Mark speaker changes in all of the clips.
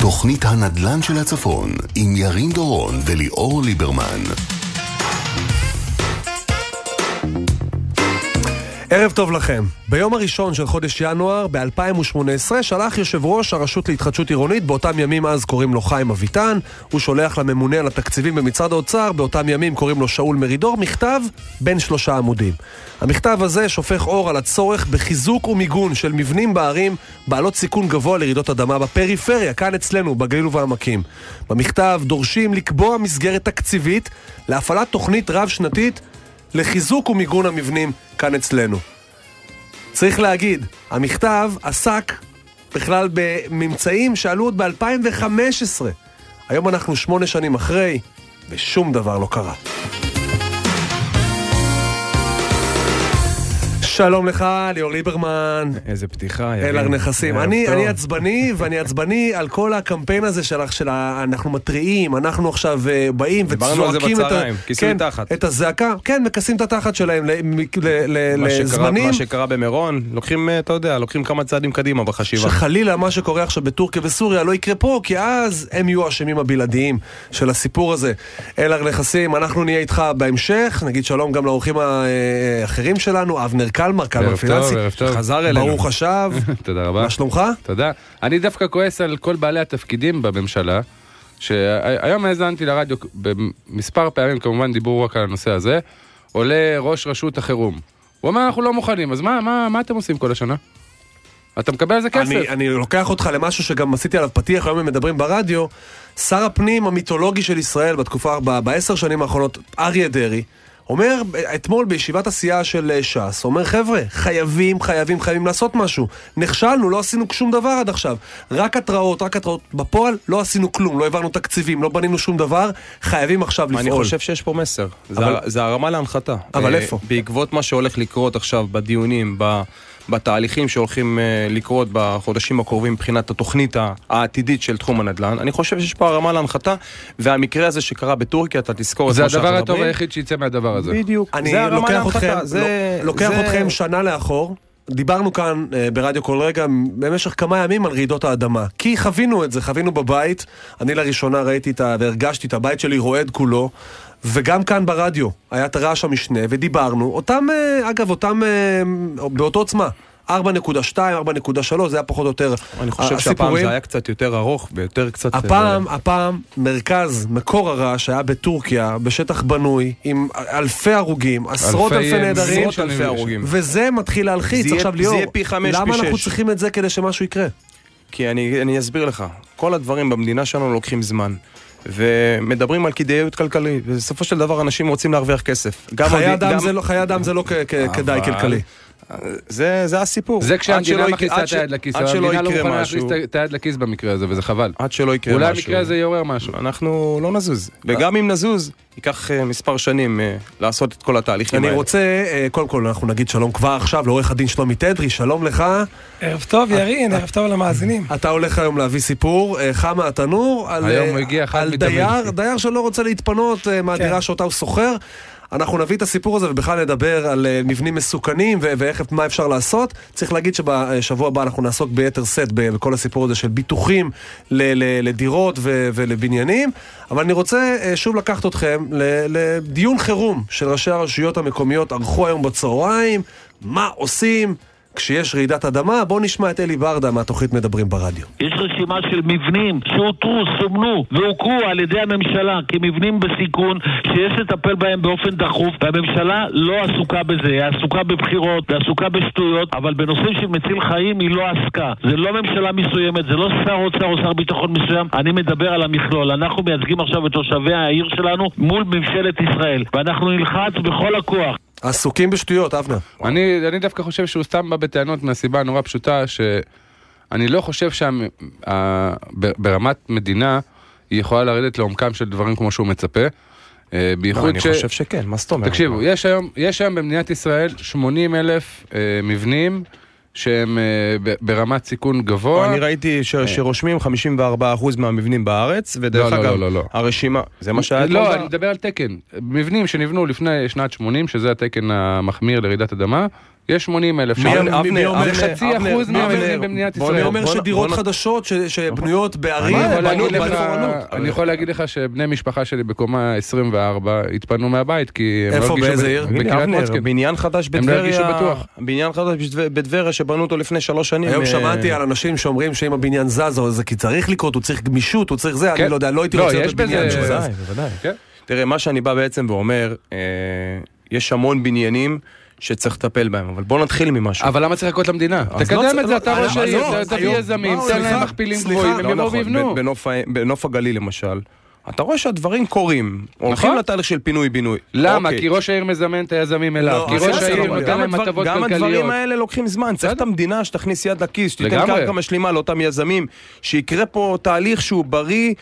Speaker 1: תוכנית הנדל"ן של הצפון עם ירין דורון וליאור ליברמן.
Speaker 2: ערב טוב לכם. ביום הראשון של חודש ינואר ב-2018 שלח יושב ראש הרשות להתחדשות עירונית, באותם ימים אז קוראים לו חיים אביטן, הוא שולח לממונה על התקציבים במשרד האוצר, באותם ימים קוראים לו שאול מרידור, מכתב בין שלושה עמודים. המכתב הזה שופך אור על הצורך בחיזוק ומיגון של מבנים בערים בעלות סיכון גבוה לרעידות אדמה בפריפריה, כאן אצלנו, בגליל ובעמקים. במכתב דורשים לקבוע מסגרת תקציבית להפעלת תוכנית רב-שנתית לחיזוק ומיגון המבנים כאן אצלנו. צריך להגיד, המכתב עסק בכלל בממצאים שעלו עוד ב-2015. היום אנחנו שמונה שנים אחרי, ושום דבר לא קרה. שלום לך, ליאור ליברמן.
Speaker 3: איזה פתיחה, יריב.
Speaker 2: אלר נכסים.
Speaker 3: ערב
Speaker 2: אני,
Speaker 3: אה, טוב.
Speaker 2: אני עצבני, ואני עצבני על כל הקמפיין הזה של, של ה- אנחנו מתריעים, אנחנו עכשיו אה, באים
Speaker 3: דיברנו על זה
Speaker 2: וצועקים את,
Speaker 3: בצהריים, כיסוי
Speaker 2: כן,
Speaker 3: תחת.
Speaker 2: את הזעקה, כן, מכסים את התחת שלהם ל, ל, ל,
Speaker 3: מה שקרה-
Speaker 2: לזמנים.
Speaker 3: מה שקרה במירון, לוקחים, אה, אתה יודע, לוקחים כמה צעדים קדימה בחשיבה.
Speaker 2: שחלילה מה שקורה עכשיו בטורקיה וסוריה לא יקרה פה, כי אז הם יהיו האשמים הבלעדיים של הסיפור הזה. אלר נכסים, אנחנו נהיה איתך בהמשך, נגיד שלום גם לאורחים האחרים שלנו, אבנר קלמר, קלמר
Speaker 4: ערב טוב,
Speaker 2: פיננסי,
Speaker 4: ערב טוב.
Speaker 3: חזר אלינו.
Speaker 2: ברוך השב,
Speaker 4: תודה רבה.
Speaker 2: מה שלומך?
Speaker 4: תודה. אני דווקא כועס על כל בעלי התפקידים בממשלה, שהיום האזנתי לרדיו במספר פעמים, כמובן דיברו רק על הנושא הזה, עולה ראש רשות החירום. הוא אומר, אנחנו לא מוכנים, אז מה, מה, מה אתם עושים כל השנה? אתה מקבל על זה כסף.
Speaker 2: אני, אני לוקח אותך למשהו שגם עשיתי עליו פתיח, היום הם מדברים ברדיו. שר הפנים המיתולוגי של ישראל בתקופה, ב- בעשר שנים האחרונות, אריה דרעי, אומר אתמול בישיבת הסיעה של אה, ש"ס, אומר חבר'ה, חייבים, חייבים, חייבים לעשות משהו. נכשלנו, לא עשינו שום דבר עד עכשיו. רק התראות, רק התראות. בפועל לא עשינו כלום, לא העברנו תקציבים, לא בנינו שום דבר, חייבים עכשיו לפעול.
Speaker 3: אני חושב שיש פה מסר. זה
Speaker 2: אבל-
Speaker 3: הר- זה הרמה להנחתה.
Speaker 2: אבל
Speaker 3: אה,
Speaker 2: איפה?
Speaker 3: בעקבות מה שהולך לקרות עכשיו בדיונים, ב- בתהליכים שהולכים אה, לקרות בחודשים הקרובים מבחינת התוכנית ה- העתידית של תחום הנדל"ן, אני חושב שיש פה הרמה להנחתה, והמקרה הזה שקרה בטורקיה, אתה תזכור את
Speaker 4: זה
Speaker 3: מה שאנחנו
Speaker 4: הדבר הטוב
Speaker 3: מדברים.
Speaker 4: היחיד שיצא מהדבר הזה.
Speaker 3: בדיוק.
Speaker 2: אני
Speaker 3: זה הרמה
Speaker 2: לוקח
Speaker 3: להנחתה,
Speaker 2: אתכם,
Speaker 3: זה-
Speaker 2: זה, לוקח
Speaker 3: זה-
Speaker 2: אתכם שנה לאחור. דיברנו כאן אה, ברדיו כל רגע במשך כמה ימים על רעידות האדמה. כי חווינו את זה, חווינו בבית. אני לראשונה ראיתי את ה... והרגשתי את הבית שלי רועד כולו. וגם כאן ברדיו היה את הרעש המשנה ודיברנו. אותם, אה, אגב, אותם אה, באותה עוצמה. 4.2, 4.3, זה היה פחות או יותר
Speaker 3: אני חושב שהפעם
Speaker 2: הסיפורים.
Speaker 3: זה היה קצת יותר ארוך ויותר קצת... אה,
Speaker 2: הפעם, הפעם, מרכז, מקור הרעש היה בטורקיה, בשטח בנוי, עם אלפי הרוגים, עשרות אלפי,
Speaker 4: אלפי
Speaker 2: נעדרים,
Speaker 3: עשרות אלפי הרוגים.
Speaker 2: וזה מתחיל להלחיץ.
Speaker 3: זה יהיה-
Speaker 2: עכשיו,
Speaker 3: זה
Speaker 2: ליאור,
Speaker 3: יהיה פי חמש,
Speaker 2: למה
Speaker 3: פי
Speaker 2: אנחנו
Speaker 3: שש.
Speaker 2: צריכים את זה כדי שמשהו יקרה?
Speaker 3: כי אני, אני אסביר לך, כל הדברים במדינה שלנו לוקחים זמן. ומדברים על כדאיות כלכלית, ובסופו של דבר אנשים רוצים להרוויח כסף. גם
Speaker 2: חיי
Speaker 3: המד-
Speaker 2: אדם
Speaker 3: גם-
Speaker 2: זה לא- חיי אדם זה לא כ- כ-
Speaker 3: אבל-
Speaker 2: כדאי כלכלי.
Speaker 3: זה, זה הסיפור.
Speaker 4: זה
Speaker 3: עד
Speaker 4: כשהמדינה
Speaker 3: שלא יקרה-
Speaker 4: מכניסה
Speaker 3: עד
Speaker 4: את
Speaker 3: ש-
Speaker 4: היד לכיס,
Speaker 3: עד שלא
Speaker 4: המדינה לא
Speaker 3: יקרה
Speaker 4: מוכנה להכניס
Speaker 3: משהו,
Speaker 4: את היד לכיס במקרה הזה, וזה חבל.
Speaker 3: עד שלא יקרה משהו.
Speaker 4: אולי המקרה הזה יעורר משהו.
Speaker 3: אנחנו לא נזוז. וגם אם נזוז, ייקח אה, מספר שנים אה, לעשות את כל התהליכים
Speaker 2: אני
Speaker 3: האלה.
Speaker 2: רוצה, אה, קודם כל, אנחנו נגיד שלום כבר עכשיו לעורך הדין שלומי תדרי, שלום לך. אה,
Speaker 5: ערב טוב ירין, ערב טוב למאזינים.
Speaker 2: אתה הולך היום להביא סיפור, אה, חם מהתנור, על,
Speaker 4: היום הוא
Speaker 2: אה,
Speaker 4: הגיע חם
Speaker 2: על
Speaker 4: מתמיד.
Speaker 2: דייר, דייר שלא רוצה להתפנות אה, מהדירה
Speaker 5: כן.
Speaker 2: שאותה הוא שוכר. אנחנו נביא את הסיפור הזה ובכלל נדבר על אה, מבנים מסוכנים ו- ואיך, מה אפשר לעשות. צריך להגיד שבשבוע הבא אנחנו נעסוק ביתר סט ב- בכל הסיפור הזה של ביטוחים ל- ל- לדירות ו- ולבניינים. אבל אני רוצה אה, שוב לקחת אתכם ל- לדיון חירום של ראשי הרשויות המקומיות ערכו היום בצהריים, מה עושים כשיש רעידת אדמה. בואו נשמע את אלי ברדה מהתוכנית מדברים ברדיו.
Speaker 6: יש רשימה של מבנים שאותרו, סומנו והוכרו על ידי הממשלה כמבנים בסיכון שיש לטפל בהם באופן דחוף והממשלה לא עסוקה בזה, היא עסוקה בבחירות, היא עסוקה בשטויות אבל בנושאים שמציל חיים היא לא עסקה זה לא ממשלה מסוימת, זה לא שר אוצר או שר ביטחון מסוים אני מדבר על המכלול אנחנו מייצגים עכשיו את תושבי העיר שלנו מול ממשלת ישראל ואנחנו נלחץ בכל הכוח
Speaker 2: עסוקים בשטויות, אבנר.
Speaker 4: אני, אני דווקא חושב שהוא סתם בא בטענות מהסיבה הנורא פשוטה שאני לא חושב שברמת מדינה היא יכולה לרדת לעומקם של דברים כמו שהוא מצפה. אה,
Speaker 3: לא,
Speaker 4: בייחוד
Speaker 3: אני
Speaker 4: ש...
Speaker 3: חושב שכן, מה זאת אומרת?
Speaker 4: תקשיבו, יש היום, יש היום במדינת ישראל 80 אלף אה, מבנים שהם אה, ב- ברמת סיכון גבוה.
Speaker 3: אני ראיתי ש- שרושמים 54% מהמבנים בארץ,
Speaker 4: לא,
Speaker 3: ודרך
Speaker 4: אה. לא,
Speaker 3: אגב,
Speaker 4: לא, לא.
Speaker 3: הרשימה, זה מה שהיה אתמול
Speaker 4: לא,
Speaker 3: ב-
Speaker 4: אני מדבר על תקן. מבנים שנבנו לפני שנת 80, שזה התקן המחמיר לרעידת אדמה, יש 80 אלף.
Speaker 2: מי- מי- מי אומר-
Speaker 4: זה חצי
Speaker 3: אבנר,
Speaker 4: אחוז
Speaker 3: אבנר,
Speaker 4: מהמבנים במדינת
Speaker 3: בוא
Speaker 4: ישראל.
Speaker 2: אני
Speaker 3: בוא
Speaker 2: אומר
Speaker 3: נ-
Speaker 2: שדירות
Speaker 3: בוא נ-
Speaker 2: חדשות ש- שבנויות בערים,
Speaker 4: אני יכול
Speaker 2: בנו
Speaker 4: להגיד לך-
Speaker 2: במפורענות.
Speaker 4: אני יכול להגיד לך שבני משפחה שלי בקומה 24 התפנו מהבית כי הם לא
Speaker 2: איפה,
Speaker 4: הרגישו...
Speaker 2: באיזה
Speaker 4: ב-
Speaker 2: עיר?
Speaker 3: תגיד לי,
Speaker 4: בקריית
Speaker 3: אבנר,
Speaker 4: מוצקין.
Speaker 3: בניין חדש
Speaker 4: הם לא הרגישו
Speaker 3: בטבריה,
Speaker 4: בטוח.
Speaker 3: בניין חדש בטבר- בטבריה שבנו אותו לפני שלוש שנים.
Speaker 2: היום
Speaker 3: אה,
Speaker 2: שמעתי על אנשים שאומרים שאם הבניין זז, או זה כי צריך לקרות, הוא צריך גמישות, הוא צריך זה, אני
Speaker 4: כן.
Speaker 2: לא יודע, לא הייתי
Speaker 4: לא,
Speaker 2: רוצה
Speaker 4: יש
Speaker 2: להיות בבניין
Speaker 4: בזה-
Speaker 2: שהוא זז.
Speaker 4: בוודאי,
Speaker 3: בוודאי.
Speaker 4: כן.
Speaker 3: תראה, מה שאני בא בעצם ואומר, אה, יש המון בניינים שצריך לטפל בהם, אבל בואו נתחיל ממשהו.
Speaker 4: אבל למה צריך לחכות למדינה? תקדם
Speaker 3: לא-
Speaker 4: את זה, אתה
Speaker 3: לא,
Speaker 4: ראש
Speaker 3: לא,
Speaker 4: העיר,
Speaker 3: לא,
Speaker 4: אתה
Speaker 2: היום-
Speaker 4: תביא יזמים,
Speaker 2: באו
Speaker 4: תן להם
Speaker 2: אליך-
Speaker 4: מכפילים
Speaker 2: סליחה,
Speaker 4: גבוהים,
Speaker 3: לא
Speaker 4: הם יבואו
Speaker 3: נכון,
Speaker 4: ויבנו.
Speaker 3: ב- בנוף ה- בנוף הגליל למשל, אתה רואה שהדברים קורים, הולכים לתהליך של פינוי-בינוי.
Speaker 4: נכון. למה?
Speaker 3: אוקיי.
Speaker 4: כי ראש העיר מזמן את היזמים אליו,
Speaker 2: לא,
Speaker 4: כי
Speaker 2: אז
Speaker 4: ראש
Speaker 2: זה
Speaker 4: העיר
Speaker 2: לא בעיה.
Speaker 4: נותן
Speaker 3: גם
Speaker 4: להם
Speaker 3: הדבר-
Speaker 4: הטבות
Speaker 3: גם הדברים
Speaker 4: כלכליות.
Speaker 3: האלה לוקחים זמן, צריך את המדינה שתכניס יד לכיס, שתיתן
Speaker 4: לגמרי.
Speaker 3: קרקע משלימה לאותם יזמים, שיקרה פה תהליך שהוא בריא,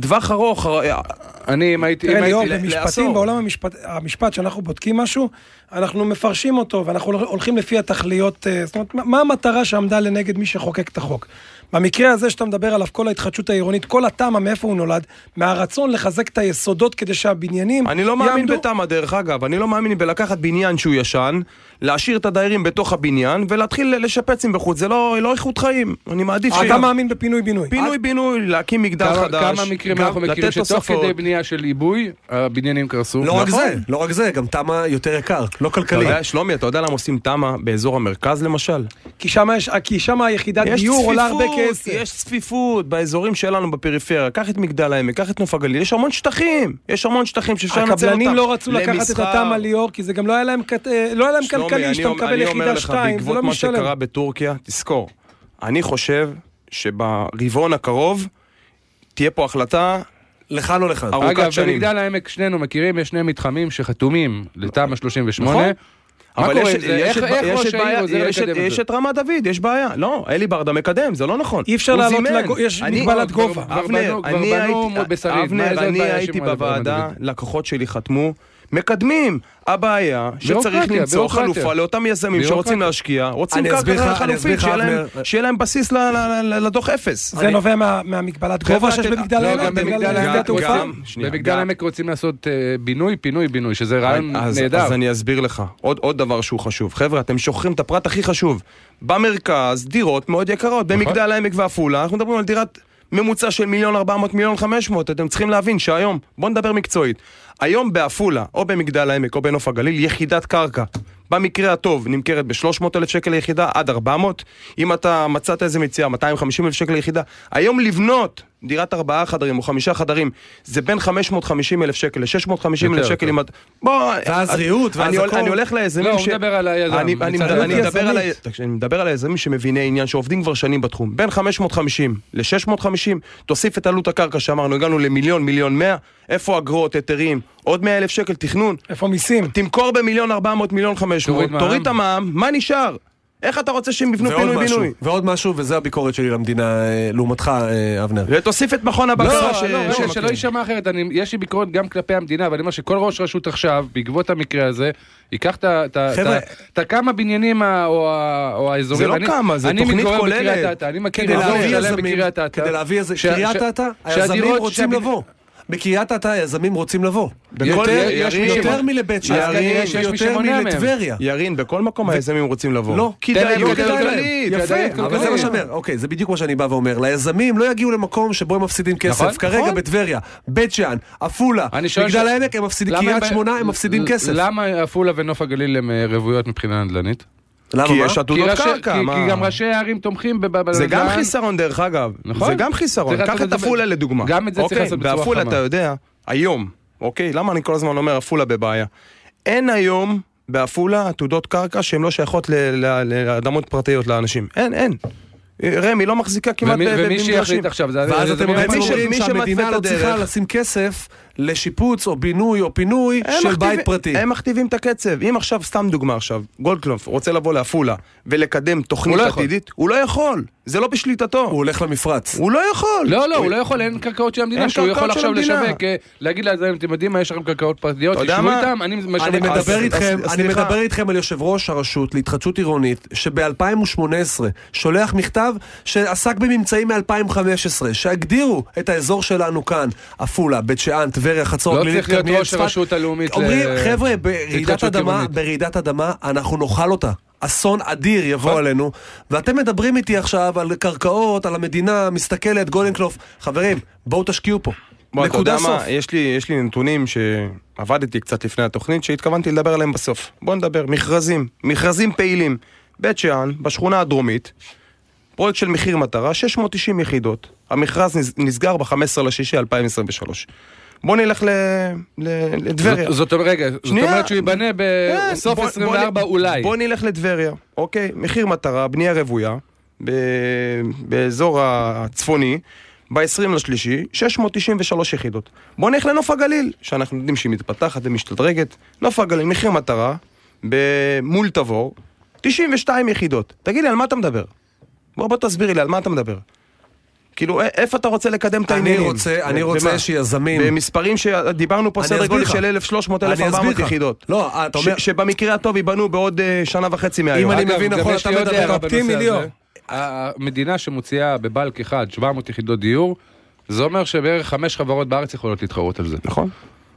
Speaker 3: טווח ארוך, אה,
Speaker 4: אני, אם הייתי... אם
Speaker 5: תראה,
Speaker 4: הייתי-
Speaker 5: ליאור,
Speaker 3: ל-
Speaker 5: במשפטים,
Speaker 3: לעשור.
Speaker 5: בעולם המשפט, המשפט, שאנחנו בודקים משהו, אנחנו מפרשים אותו, ואנחנו הולכים לפי התכליות, אה, זאת אומרת, מה- מה המטרה שעמדה לנגד מי שחוקק את החוק? במקרה הזה שאתה מדבר עליו, כל ההתחדשות העירונית, כל התמ"א, מאיפה הוא נולד? מהרצון לחזק את היסודות כדי שהבניינים
Speaker 3: אני לא מאמין
Speaker 5: יעמדו-
Speaker 3: בתמ"א דרך אגב, אני לא מאמין בלקחת בניין שהוא ישן, להשאיר את הדיירים בתוך הבניין ולהתחיל לשפץ עם בחוץ, זה לא לא איכות חיים, אני מעדיף ש...
Speaker 5: אתה מאמין בפינוי-בינוי.
Speaker 3: פינוי בינוי, להקים מגדל
Speaker 4: אה, כמה-
Speaker 3: חדש,
Speaker 4: כמה מקרים
Speaker 3: גם
Speaker 4: אנחנו מכירים
Speaker 3: לתת
Speaker 4: שתוך
Speaker 3: תוספות.
Speaker 4: כדי בנייה של עיבוי, הבניינים קרסו?
Speaker 2: לא רק
Speaker 4: נכון.
Speaker 2: זה, לא רק זה, גם תמה יותר יקר, לא
Speaker 3: אתה
Speaker 2: כלכלי.
Speaker 3: יודע, אה, שלומי, אתה יודע למה עושים תמ"א באזור המרכז למשל?
Speaker 5: כי שם יש- כי שם היחידת
Speaker 3: יש
Speaker 5: דיור עולה הרבה
Speaker 3: צפיפות,
Speaker 5: כסף.
Speaker 3: יש צפיפות באזורים שלנו בפריפריה. קח את מגדל העמק, קח את נוף הגליל, יש המון שטחים. יש המון שטחים שאפשר לנצל אותם.
Speaker 5: הקבלנים לא רצו לקחת את
Speaker 3: למסחר.
Speaker 5: התמ"א ליאור, כי זה גם לא היה להם כת- אה, לא היה להם
Speaker 3: שלומי,
Speaker 5: כלכלי
Speaker 3: אני
Speaker 5: שאתה
Speaker 3: אומר-
Speaker 5: מקבל יחידה
Speaker 3: אני אומר
Speaker 5: שתיים,
Speaker 3: לך,
Speaker 5: זה לא
Speaker 3: בעקבות מה
Speaker 5: משלם.
Speaker 3: שקרה בטורקיה, תזכור, אני חושב שברבעון הקרוב תהיה פה החלטה
Speaker 2: לכאן או לכאן.
Speaker 3: ארוכת
Speaker 4: אגב,
Speaker 3: שנים.
Speaker 4: במגדל העמק שנינו מכירים, יש שני מתחמים שחתומים לתמ"א 38.
Speaker 3: נכון.
Speaker 4: מה
Speaker 3: אבל
Speaker 4: קורה
Speaker 3: יש-
Speaker 4: עם זה?
Speaker 3: יש
Speaker 4: איך
Speaker 3: את-
Speaker 4: איך
Speaker 3: יש
Speaker 4: ראש
Speaker 3: את
Speaker 4: העיר
Speaker 3: בעיה-
Speaker 4: עוזר
Speaker 3: יש את-
Speaker 4: לקדם את
Speaker 3: יש
Speaker 4: זה?
Speaker 3: את רמת דוד, יש בעיה. לא, אלי ברדה מקדם, זה לא נכון.
Speaker 5: אי אפשר
Speaker 3: הוא
Speaker 5: לעלות
Speaker 3: זימן.
Speaker 5: לגו- יש
Speaker 3: אני-
Speaker 5: מגבלת
Speaker 4: כבר-
Speaker 5: גובה.
Speaker 4: כבר
Speaker 3: אבנר,
Speaker 4: בנו- כבר
Speaker 3: אני
Speaker 4: בנו
Speaker 3: הייתי-
Speaker 4: בשריד, מה,
Speaker 3: אבנר,
Speaker 4: איזה
Speaker 3: אני
Speaker 4: בעיה
Speaker 3: הייתי
Speaker 4: שמעלה
Speaker 3: בוועדה,
Speaker 4: ברמת דוד?
Speaker 3: לקוחות שלי חתמו, מקדמים. הבעיה שצריך
Speaker 4: בירוקרטיה,
Speaker 3: למצוא
Speaker 4: בירוקרטיה.
Speaker 3: חלופה לאותם יזמים שרוצים
Speaker 4: בירוקרטיה.
Speaker 3: להשקיע, רוצים
Speaker 2: אני אסביר
Speaker 3: קרקע
Speaker 2: לך- אני אסביר
Speaker 3: חלופית,
Speaker 2: לך,
Speaker 3: שיהיה להם-
Speaker 2: אבנר.
Speaker 3: שיהיה להם בסיס ל- ל- ל- לדוח אפס.
Speaker 5: זה נובע מה- מהמגבלת גובה שיש
Speaker 3: אתם-
Speaker 5: במגדל
Speaker 4: לא,
Speaker 5: העמק,
Speaker 4: גם
Speaker 5: בגלל
Speaker 4: במגדל
Speaker 5: שדה
Speaker 4: העמק
Speaker 5: התעופה.
Speaker 3: גם- שנייה,
Speaker 4: במגדל
Speaker 3: גם-
Speaker 4: העמק רוצים לעשות אה, בינוי, פינוי, בינוי, שזה רעיון
Speaker 3: אז,
Speaker 4: נהדר.
Speaker 3: אז אני אסביר לך. עוד, עוד דבר שהוא חשוב. חבר'ה, אתם שוכחים את הפרט הכי חשוב. במרכז, דירות מאוד יקרות.
Speaker 4: נכון.
Speaker 3: במגדל העמק ועפולה, אנחנו מדברים על דירת ממוצע של מיליון ארבע מאות, מיליון חמש מאות. אתם צריכים להבין שהיום, בואו נדבר מקצועית. היום בעפולה, או במגדל העמק, או בנוף הגליל, יחידת קרקע. במקרה הטוב נמכרת ב-300,000 שקל ליחידה עד 400, אם אתה מצאת איזה מציאה, 250,000 שקל ליחידה. היום לבנות דירת ארבעה חדרים או חמישה חדרים, זה בין 550,000 שקל ל-650,000
Speaker 4: יותר,
Speaker 3: שקל אם את... בוא,
Speaker 2: ואז
Speaker 3: אני-
Speaker 2: ריהוט, ואז
Speaker 3: אני הול-
Speaker 2: הכל.
Speaker 3: אני הולך ליזמים
Speaker 4: לא, הוא מדבר על היזם,
Speaker 3: אני-
Speaker 4: מצד
Speaker 3: אני מדבר-
Speaker 4: היזם.
Speaker 3: אני מדבר על ה-
Speaker 5: יזמית.
Speaker 3: תקשיב, אני מדבר על היזמים שמביני עניין, שעובדים כבר שנים בתחום. בין 550 ל-650, תוסיף את עלות הקרקע שאמרנו, הגענו למיליון, מיליון מאה, איפה אגרות, היתרים, עוד 100 אלף שקל תכנון,
Speaker 5: איפה מיסים?
Speaker 3: תמכור במיליון 400, מיליון 500,
Speaker 4: תוריד מע"מ.
Speaker 3: תוריד את המע"מ, מה נשאר? איך אתה רוצה שהם יבנו
Speaker 2: ועוד משהו,
Speaker 3: פינוי-בינוי?
Speaker 2: ועוד משהו, וזו הביקורת שלי למדינה, אה, לעומתך, אה, אבנר.
Speaker 3: ותוסיף את מכון
Speaker 4: לא,
Speaker 3: הבקרה ש...
Speaker 4: לא, רגע,
Speaker 3: שמקים.
Speaker 4: שלא יישמע אחרת, אני- יש לי ביקורת גם כלפי המדינה, אבל אני אומר שכל ראש רשות עכשיו, בעקבות המקרה הזה, ייקח את ה- את ה-
Speaker 2: חבר'ה.
Speaker 4: את ה- את הכמה בניינים ה- או ה- או האזורים.
Speaker 3: זה לא
Speaker 4: אני-
Speaker 3: כמה, זה
Speaker 4: אני
Speaker 3: תוכנית
Speaker 4: מתגורר
Speaker 3: כוללת.
Speaker 4: בקריית אתא, אני מכיר
Speaker 2: כדי
Speaker 4: אזור
Speaker 2: להביא
Speaker 4: שלם
Speaker 2: יזמים,
Speaker 4: בקריית אתא.
Speaker 2: כדי להביא איזה,
Speaker 4: ש-
Speaker 2: קריית
Speaker 4: ש-
Speaker 2: אתא, היזמים
Speaker 4: שהדירות-
Speaker 2: רוצים
Speaker 4: שהבנ-
Speaker 2: לבוא. בקריית אתא היזמים רוצים לבוא.
Speaker 3: בכל-
Speaker 2: יותר-
Speaker 3: יש- יש-
Speaker 2: יותר
Speaker 4: יש-
Speaker 2: מלבית
Speaker 4: אז
Speaker 2: שערים,
Speaker 4: כנראה שיש מי
Speaker 2: יותר
Speaker 4: שמונע מהם.
Speaker 2: מלטבריה.
Speaker 3: ירין, בכל מקום היזמים רוצים לבוא.
Speaker 2: לא,
Speaker 4: תן להם
Speaker 3: כדאיות
Speaker 4: כדאיות
Speaker 3: כלכלית,
Speaker 4: כלכלית, כדאיות
Speaker 3: יפה.
Speaker 2: אבל זה
Speaker 4: אוקיי.
Speaker 2: מה שאומר, אוקיי, זה בדיוק מה שאני בא ואומר. ליזמים לא יגיעו למקום שבו הם מפסידים
Speaker 4: נכון,
Speaker 2: כסף. כרגע
Speaker 4: נכון.
Speaker 2: בטבריה, בית שאן, עפולה,
Speaker 4: אני שואל
Speaker 2: מגדל
Speaker 4: ש-
Speaker 2: העמק, הם מפסידים,
Speaker 4: למה
Speaker 2: קריית
Speaker 4: הם-
Speaker 2: שמונה, הם מפסידים
Speaker 4: ל-
Speaker 2: כסף.
Speaker 4: למה עפולה ונוף הגליל הם אה, רוויות מבחינה נדל"נית?
Speaker 2: למה?
Speaker 3: כי
Speaker 2: מה?
Speaker 3: יש
Speaker 4: כי
Speaker 3: עתודות
Speaker 4: ראשי-
Speaker 3: קרקע.
Speaker 4: כי-
Speaker 3: מה?
Speaker 4: כי גם ראשי הערים תומכים ב- ב-
Speaker 3: זה גם
Speaker 4: בנדל"ן.
Speaker 3: חיסרון דרך אגב.
Speaker 4: נכון.
Speaker 3: זה גם חיסרון.
Speaker 4: צריך
Speaker 3: קח
Speaker 4: לעשות
Speaker 3: את
Speaker 4: את זה
Speaker 3: עפולה
Speaker 4: ב-
Speaker 3: לדוגמה.
Speaker 4: גם את זה צריך
Speaker 3: אוקיי,
Speaker 4: לעשות בצורה
Speaker 3: בעפולה
Speaker 4: חכמה.
Speaker 3: אתה יודע, היום, אוקיי, למה אני כל הזמן אומר עפולה בבעיה? אין היום בעפולה עתודות קרקע שהן לא שייכות ל- ל- לאדמות פרטיות לאנשים. אין, אין. רמי לא מחזיקה כמעט
Speaker 4: ומי-
Speaker 3: ב-
Speaker 4: ומי
Speaker 3: במגרשים.
Speaker 4: שיחליט עכשיו, זה...
Speaker 2: ואז
Speaker 4: זה-
Speaker 2: אתם
Speaker 4: מי
Speaker 2: בעצם
Speaker 4: אמור?
Speaker 3: ש-
Speaker 2: אומרים
Speaker 3: מי שמתווה
Speaker 2: שהמדינה
Speaker 3: את
Speaker 2: לא
Speaker 3: הדרך.
Speaker 2: צריכה לשים כסף לשיפוץ או בינוי או פינוי
Speaker 3: הם
Speaker 2: של
Speaker 3: מכתיבים-
Speaker 2: בית פרטי.
Speaker 3: הם מכתיבים את הקצב. אם עכשיו, סתם דוגמה עכשיו, גולדקלופ רוצה לבוא לעפולה ולקדם תוכנית
Speaker 4: הוא לא יכול.
Speaker 3: עתידית, הוא לא יכול. זה לא בשליטתו.
Speaker 2: הוא הולך למפרץ.
Speaker 3: הוא לא יכול.
Speaker 4: לא, לא, הוא לא יכול, אין קרקעות של המדינה
Speaker 3: אין
Speaker 4: שהוא יכול
Speaker 3: קרקעות של
Speaker 4: עכשיו
Speaker 3: המדינה.
Speaker 4: לשווק, אה, להגיד ליזמים, אתם יודעים מה, יש לכם קרקעות פרטיות,
Speaker 3: אתה יודע
Speaker 4: תשבו
Speaker 3: מה?
Speaker 4: איתם, אני משווק.
Speaker 2: אני
Speaker 3: אז-
Speaker 2: מדבר
Speaker 3: אז-
Speaker 2: איתכם,
Speaker 3: אז
Speaker 2: אני
Speaker 3: סליחה.
Speaker 2: מדבר איתכם על יושב ראש הרשות להתחדשות עירונית, שב-2018 שולח מכתב שעסק בממצאים מ-2015, שהגדירו את האזור שלנו כאן, עפולה, בית שאן, טבריה, חצור,
Speaker 4: לא
Speaker 2: גלילית,
Speaker 4: צריך להיות
Speaker 2: כרמיאל,
Speaker 4: ראש
Speaker 2: צפת.
Speaker 4: הרשות הלאומית
Speaker 2: אומרים,
Speaker 4: ל-
Speaker 2: חבר'ה, ברעידת
Speaker 4: להתחדשות
Speaker 2: אדמה,
Speaker 4: עירונית."
Speaker 2: ברעידת אדמה אנחנו נאכל אותה. אסון אדיר יבוא עלינו, ואתם מדברים איתי עכשיו על קרקעות, על המדינה, מסתכלת, גולדנקלוף. חברים, בואו תשקיעו פה.
Speaker 3: בוא, אתה יודע
Speaker 2: נקודה סוף.
Speaker 3: מה, יש לי, יש לי נתונים שעבדתי קצת לפני התוכנית שהתכוונתי לדבר עליהם בסוף. בוא נדבר, מכרזים, מכרזים פעילים. בית שאן, בשכונה הדרומית, פרויקט של מחיר מטרה, 690 יחידות. המכרז נס- נסגר ב-15 לישישי 2023. בוא נלך ל- ל- לטבריה.
Speaker 4: זאת- זאת אומרת, רגע, זאת
Speaker 3: שנייה.
Speaker 4: אומרת שהוא ייבנה
Speaker 3: כן,
Speaker 4: בסוף
Speaker 3: בוא- בוא
Speaker 4: 24
Speaker 3: נ-
Speaker 4: אולי.
Speaker 3: בוא נלך לטבריה, אוקיי? מחיר מטרה, בנייה רוויה, ב- באזור הצפוני, ב-20 לשלישי, 693 יחידות. בוא נלך לנוף הגליל, שאנחנו יודעים שהיא מתפתחת ומשתדרגת. נוף הגליל, מחיר מטרה, ב- מול תבור, 92 יחידות. תגיד לי, על מה אתה מדבר? בוא, בוא תסבירי לי, על מה אתה מדבר? כאילו, א- איפה אתה רוצה לקדם את
Speaker 2: אני
Speaker 3: העניינים?
Speaker 2: רוצה- אני רוצה
Speaker 3: במה?
Speaker 2: שיזמים-
Speaker 3: במספרים שדיברנו פה
Speaker 2: אני
Speaker 3: סדר
Speaker 2: אסביר
Speaker 3: גודל
Speaker 2: לך.
Speaker 3: של 1,300,
Speaker 2: אני אסביר
Speaker 3: 1,400
Speaker 2: לך.
Speaker 3: יחידות.
Speaker 2: לא, אה, אתה אומר-
Speaker 3: ש- שבמקרה הטוב ייבנו בעוד אה, שנה וחצי מהיום.
Speaker 2: אם אני
Speaker 4: אגב,
Speaker 2: מבין
Speaker 4: גם
Speaker 2: נכון,
Speaker 4: יש
Speaker 2: אתה
Speaker 4: לי עוד
Speaker 2: מדבר
Speaker 4: הערה
Speaker 2: אופטימי,
Speaker 4: בנושא
Speaker 2: ליאור.
Speaker 4: הזה. המדינה שמוציאה בבלק אחד 700 יחידות דיור, זה אומר שבערך חמש חברות בארץ יכולות להתחרות על זה.
Speaker 3: נכון.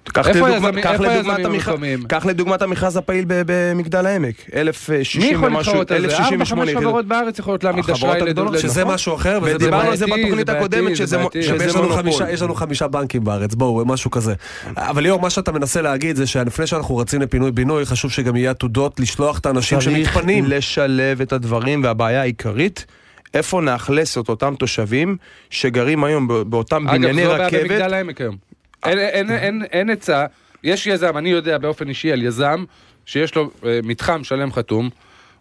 Speaker 3: קח
Speaker 4: איפה
Speaker 3: לדוגמה-
Speaker 4: היזמים-
Speaker 3: קח
Speaker 4: איפה
Speaker 3: לדוגמה את
Speaker 4: היזמים
Speaker 3: המכרז-
Speaker 4: המקומיים?
Speaker 3: קח לדוגמה את המכרז הפעיל ב- במגדל העמק.
Speaker 4: מי
Speaker 3: 1,060
Speaker 4: יכול
Speaker 3: ומשהו,
Speaker 4: להתחרות על זה?
Speaker 3: 1,068
Speaker 4: ארבע-חמש
Speaker 3: יחידות.
Speaker 4: חברות בארץ יכולות להעמיד
Speaker 3: החברות
Speaker 4: אשראי
Speaker 3: הגדולות,
Speaker 4: לדוד.
Speaker 2: שזה
Speaker 4: נכון?
Speaker 2: משהו אחר, וזה
Speaker 3: ודיברנו על זה
Speaker 4: בעייתי,
Speaker 3: בתוכנית
Speaker 4: זה
Speaker 3: הקודמת,
Speaker 4: בעייתי,
Speaker 3: שזה
Speaker 4: זה
Speaker 3: מו-
Speaker 4: בעייתי.
Speaker 3: שזה
Speaker 2: עכשיו, יש לנו
Speaker 3: מונופול.
Speaker 2: חמישה- יש לנו חמישה בנקים בארץ, בואו, משהו כזה. אבל ליאור, מה שאתה מנסה להגיד זה שלפני שאנחנו רצים לפינוי-בינוי, חשוב שגם יהיה עתודות לשלוח את האנשים
Speaker 3: צריך
Speaker 2: שמתפנים.
Speaker 3: לשלב את הדברים, והבעיה העיקרית, איפה נאכלס את אותם תושבים שגרים היום ב- באותם
Speaker 4: אגב,
Speaker 3: בנייני
Speaker 4: זו הבעיה
Speaker 3: רכבת.
Speaker 4: במגדל העמק היום. אין- אין- אין- אין היצע, יש יזם, אני יודע באופן אישי על יזם שיש לו אה, מתחם שלם חתום,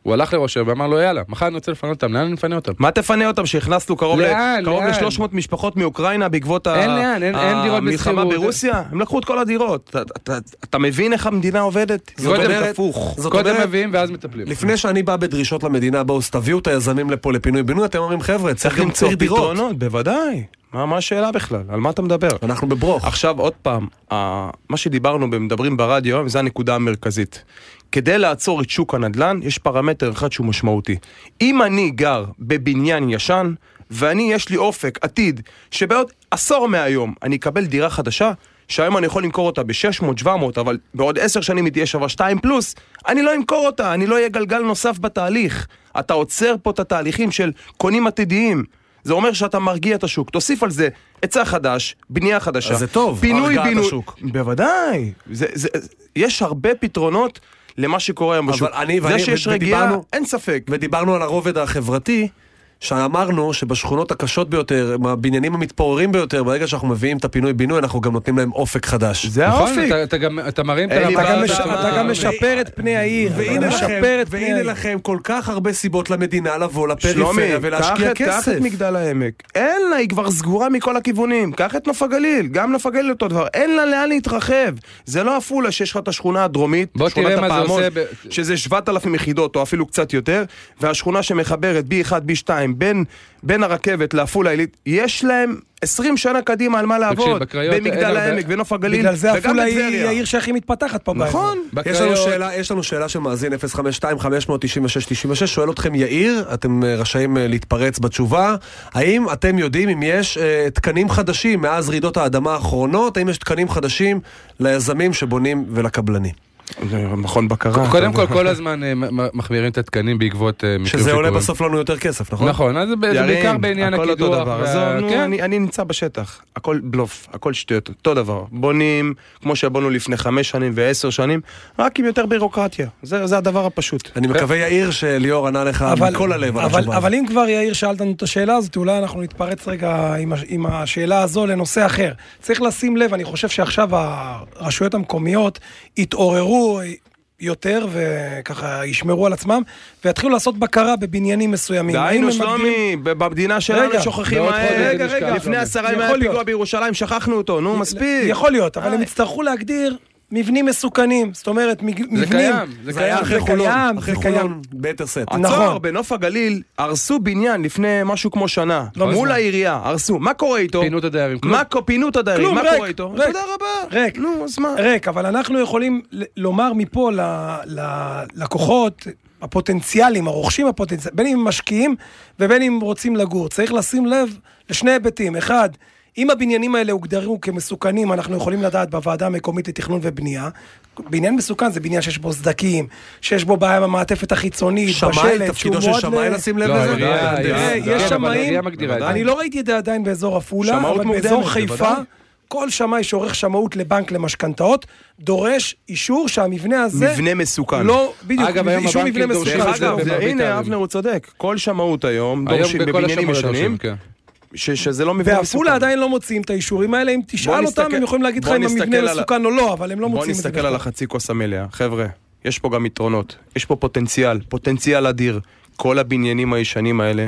Speaker 4: הוא הלך לראש העיר ואמר לו יאללה, מחר אני רוצה לפנות אותם, לאן אני מפנה אותם?
Speaker 3: מה תפנה אותם שהכנסנו קרוב
Speaker 4: לאן, לאן?
Speaker 3: ל-300 משפחות מאוקראינה בעקבות ה-
Speaker 4: אין לאן, אין- אין דירות
Speaker 3: המלחמה
Speaker 4: בשכירות.
Speaker 3: ברוסיה? הם לקחו את כל הדירות. אתה- אתה- אתה מבין איך המדינה עובדת? זאת
Speaker 4: קודם-
Speaker 3: אומרת, הפוך.
Speaker 2: זאת
Speaker 4: קודם
Speaker 2: אומרת-
Speaker 4: מביאים ואז מטפלים.
Speaker 2: לפני שאני בא בדרישות למדינה, בואו, אז תביאו את היזמים לפה לפינוי-בינוי, אתם אומרים, חבר'ה, צריך
Speaker 3: צריך
Speaker 2: גם
Speaker 3: למצוא
Speaker 2: צריך דירות.
Speaker 3: פתרונות, בוודאי. מה מה השאלה בכלל? על מה אתה מדבר?
Speaker 2: אנחנו בברוך.
Speaker 3: עכשיו עוד פעם, ה- מה שדיברנו במדברים ברדיו היום, זה הנקודה המרכזית. כדי לעצור את שוק הנדל"ן, יש פרמטר אחד שהוא משמעותי. אם אני גר בבניין ישן, ואני יש לי אופק, עתיד, שבעוד עשור מהיום אני אקבל דירה חדשה, שהיום אני יכול למכור אותה ב-600-700, אבל בעוד עשר שנים היא תהיה שווה 2 פלוס, אני לא אמכור אותה, אני לא אהיה גלגל נוסף בתהליך. אתה עוצר פה את התהליכים של קונים עתידיים. זה אומר שאתה מרגיע את השוק, תוסיף על זה היצע חדש, בנייה חדשה.
Speaker 2: אז זה טוב,
Speaker 3: פינוי,
Speaker 2: הרגעת
Speaker 3: בינוי.
Speaker 2: השוק.
Speaker 3: בוודאי. זה, זה, יש הרבה פתרונות למה שקורה היום בשוק.
Speaker 2: אני ואני-
Speaker 3: זה שיש
Speaker 2: ו-
Speaker 3: רגיעה,
Speaker 2: ודיברנו-
Speaker 3: אין ספק.
Speaker 2: ודיברנו על הרובד החברתי, שאמרנו שבשכונות הקשות ביותר, עם הבניינים המתפוררים ביותר, ברגע שאנחנו מביאים את הפינוי-בינוי, אנחנו גם נותנים להם אופק חדש.
Speaker 3: זה
Speaker 4: נכון,
Speaker 3: האופי.
Speaker 4: אתה- אתה גם- אתה מרים את
Speaker 3: אין לי
Speaker 4: הרמה.
Speaker 5: אתה גם
Speaker 3: אה,
Speaker 5: מש- אתה גם משפר את פני העיר. אתה גם
Speaker 2: והנה לכם,
Speaker 5: משפר את פני
Speaker 2: והנה
Speaker 5: העיר.
Speaker 2: לכם כל כך הרבה סיבות למדינה לבוא
Speaker 3: שלומי,
Speaker 2: לפריפריה
Speaker 3: קח
Speaker 2: ולהשקיע
Speaker 3: את-
Speaker 2: כסף.
Speaker 3: קח את מגדל העמק. אין לה, היא כבר סגורה מכל הכיוונים. קח את נוף הגליל, גם נוף הגליל אותו דבר. אין לה לאן להתרחב. זה לא עפולה שיש לך את השכונה הדרומית,
Speaker 4: בוא
Speaker 3: שכונת
Speaker 4: תראה מה זה
Speaker 3: הפעמון,
Speaker 4: עושה ב-
Speaker 3: שזה 7,000 יחידות או אפילו קצת יותר, והשכונה שמחברת B1, B2, בין, בין הרכבת לעפולה עילית, יש להם 20 שנה קדימה על מה לעבוד.
Speaker 4: בקריות אין
Speaker 3: במגדל
Speaker 4: הרבה-
Speaker 3: העמק, בנוף הגליל,
Speaker 5: בגלל זה
Speaker 3: וגם
Speaker 5: עפולה היא
Speaker 3: בטבריה.
Speaker 5: העיר שהכי מתפתחת פה. באזור.
Speaker 3: נכון.
Speaker 2: יש לנו,
Speaker 4: בקריות.
Speaker 2: שאלה, יש לנו שאלה של מאזין 052-596-96, שואל אתכם יאיר, אתם אה, רשאים אה, להתפרץ בתשובה, האם אתם יודעים אם יש אה, תקנים חדשים מאז רעידות האדמה האחרונות, האם יש תקנים חדשים ליזמים שבונים ולקבלנים?
Speaker 3: זה מכון בקרה.
Speaker 4: קודם
Speaker 3: אתה
Speaker 4: כל,
Speaker 3: יודע.
Speaker 4: כל הזמן אה, מ- מ- מחמירים את התקנים בעקבות אה, מקרים
Speaker 2: שזה עולה
Speaker 4: שקורים.
Speaker 2: בסוף לנו יותר כסף, נכון?
Speaker 4: נכון, אז זה ב- זה
Speaker 3: ירין,
Speaker 4: בעיקר בעניין הקידוח.
Speaker 3: הכל אותו דבר.
Speaker 4: וה-
Speaker 3: עזוב, נו,
Speaker 4: כן.
Speaker 3: אני- אני נמצא בשטח. הכל בלוף, הכל שטויות, אותו דבר. בונים כמו שבונו לפני חמש שנים ועשר שנים, רק עם יותר בירוקרטיה. זה זה הדבר הפשוט.
Speaker 2: אני מקווה, יאיר, שליאור ענה לך
Speaker 5: אבל,
Speaker 2: מכל הלב על
Speaker 5: אבל,
Speaker 2: התשובה.
Speaker 5: אבל אם כבר יאיר שאלת לנו את השאלה הזאת, אולי אנחנו נתפרץ רגע עם, הש- עם השאלה הזו לנושא אחר. צריך לשים לב, אני חושב שעכשיו הרשויות המקומיות יתעוררו יותר וככה ישמרו על עצמם, ויתחילו לעשות בקרה בבניינים מסוימים. האם
Speaker 3: דהיינו,
Speaker 5: הם מגדירים-
Speaker 3: שלומי, ב- במדינה שלנו
Speaker 5: רגע,
Speaker 3: שוכחים
Speaker 4: בעוד
Speaker 3: מה היה.
Speaker 4: חודש
Speaker 3: רגע,
Speaker 4: נשכח,
Speaker 3: רגע, לפני
Speaker 4: שלומי.
Speaker 3: עשרה ימים
Speaker 5: יכול
Speaker 3: היה פיגוע
Speaker 5: להיות.
Speaker 3: בירושלים, שכחנו אותו, נו, מספיק.
Speaker 5: יכול להיות, אבל הם
Speaker 3: אה.
Speaker 5: יצטרכו להגדיר מבנים מסוכנים. זאת אומרת, מג- מבנים...
Speaker 4: קיים, זה
Speaker 2: זה היה
Speaker 4: קיים,
Speaker 2: אחרי
Speaker 5: זה
Speaker 2: חולון,
Speaker 5: קיים,
Speaker 2: אחרי
Speaker 5: זה קיים.
Speaker 2: חולון, ביתר סט.
Speaker 3: עצור,
Speaker 5: נכון.
Speaker 3: בנוף הגליל הרסו בניין לפני משהו כמו שנה.
Speaker 5: לא
Speaker 3: מול
Speaker 5: מזמן.
Speaker 3: העירייה, הרסו. מה קורה איתו?
Speaker 4: פינו את הדיירים, כלום.
Speaker 3: מה קו- פינו את הדיירים,
Speaker 5: כלום,
Speaker 3: מה
Speaker 5: ריק,
Speaker 3: קורה איתו?
Speaker 5: ריק,
Speaker 3: תודה רבה.
Speaker 5: ריק.
Speaker 3: נו, אז מה?
Speaker 5: ריק, אבל אנחנו יכולים ל- לומר מפה ללקוחות הפוטנציאליים, הרוכשים הפוטנציאליים, בין אם הם משקיעים ובין אם רוצים לגור. צריך לשים לב לשני היבטים. אחד, אם הבניינים האלה הוגדרו כמסוכנים, אנחנו יכולים לדעת בוועדה המקומית לתכנון ובנייה. בניין מסוכן זה בניין שיש בו סדקים, שיש בו בעיה במעטפת החיצונית,
Speaker 2: שמאי,
Speaker 5: בשלט, שהוא
Speaker 2: תפקידו של
Speaker 5: מאוד...
Speaker 2: שמאי
Speaker 5: ל-
Speaker 2: לשים לב
Speaker 4: לא,
Speaker 2: לזה?
Speaker 4: העירייה-
Speaker 2: תראה,
Speaker 4: העירייה-
Speaker 2: יש
Speaker 4: כן, אבל
Speaker 5: שמאים-
Speaker 4: העירייה מגדירה את זה.
Speaker 5: אני לא ראיתי את זה עדיין באזור עפולה,
Speaker 3: שמאות
Speaker 5: אבל
Speaker 3: מוקדמת,
Speaker 5: באזור חיפה,
Speaker 3: בוודאי.
Speaker 5: כל שמאי שעורך שמאות לבנק למשכנתאות, דורש אישור שהמבנה הזה...
Speaker 3: מבנה מסוכן.
Speaker 5: לא, בדיוק,
Speaker 4: אגב, היום
Speaker 5: אישור מבנה
Speaker 4: הבנקים דורשים
Speaker 5: מסוכן.
Speaker 3: דרך
Speaker 4: דרך
Speaker 5: זה לא
Speaker 4: אגב,
Speaker 3: אגב,
Speaker 5: עובד.
Speaker 4: זה- במרבית
Speaker 3: הנה
Speaker 4: הערים.
Speaker 3: אבנר הוא צודק, כל שמאות היום,
Speaker 4: היום
Speaker 3: דורשים
Speaker 4: בכל
Speaker 3: בבניינים
Speaker 4: השמות
Speaker 3: ישנים,
Speaker 4: הדורשים, כן.
Speaker 3: ש- שזה לא מבנה מסוכן.
Speaker 5: ועפולה עדיין לא מוציאים את האישורים האלה, אם תשאל אותם,
Speaker 3: נסתכל-
Speaker 5: הם יכולים להגיד לך
Speaker 3: בוא
Speaker 5: אם
Speaker 3: נסתכל
Speaker 5: המבנה
Speaker 3: על ה-
Speaker 5: מסוכן או לא, אבל הם לא
Speaker 3: בוא
Speaker 5: מוציאים את זה.
Speaker 3: נסתכל
Speaker 5: בכלל.
Speaker 3: על החצי כוס המלאה. חבר'ה, יש פה גם יתרונות, יש פה פוטנציאל, פוטנציאל אדיר. כל הבניינים הישנים האלה,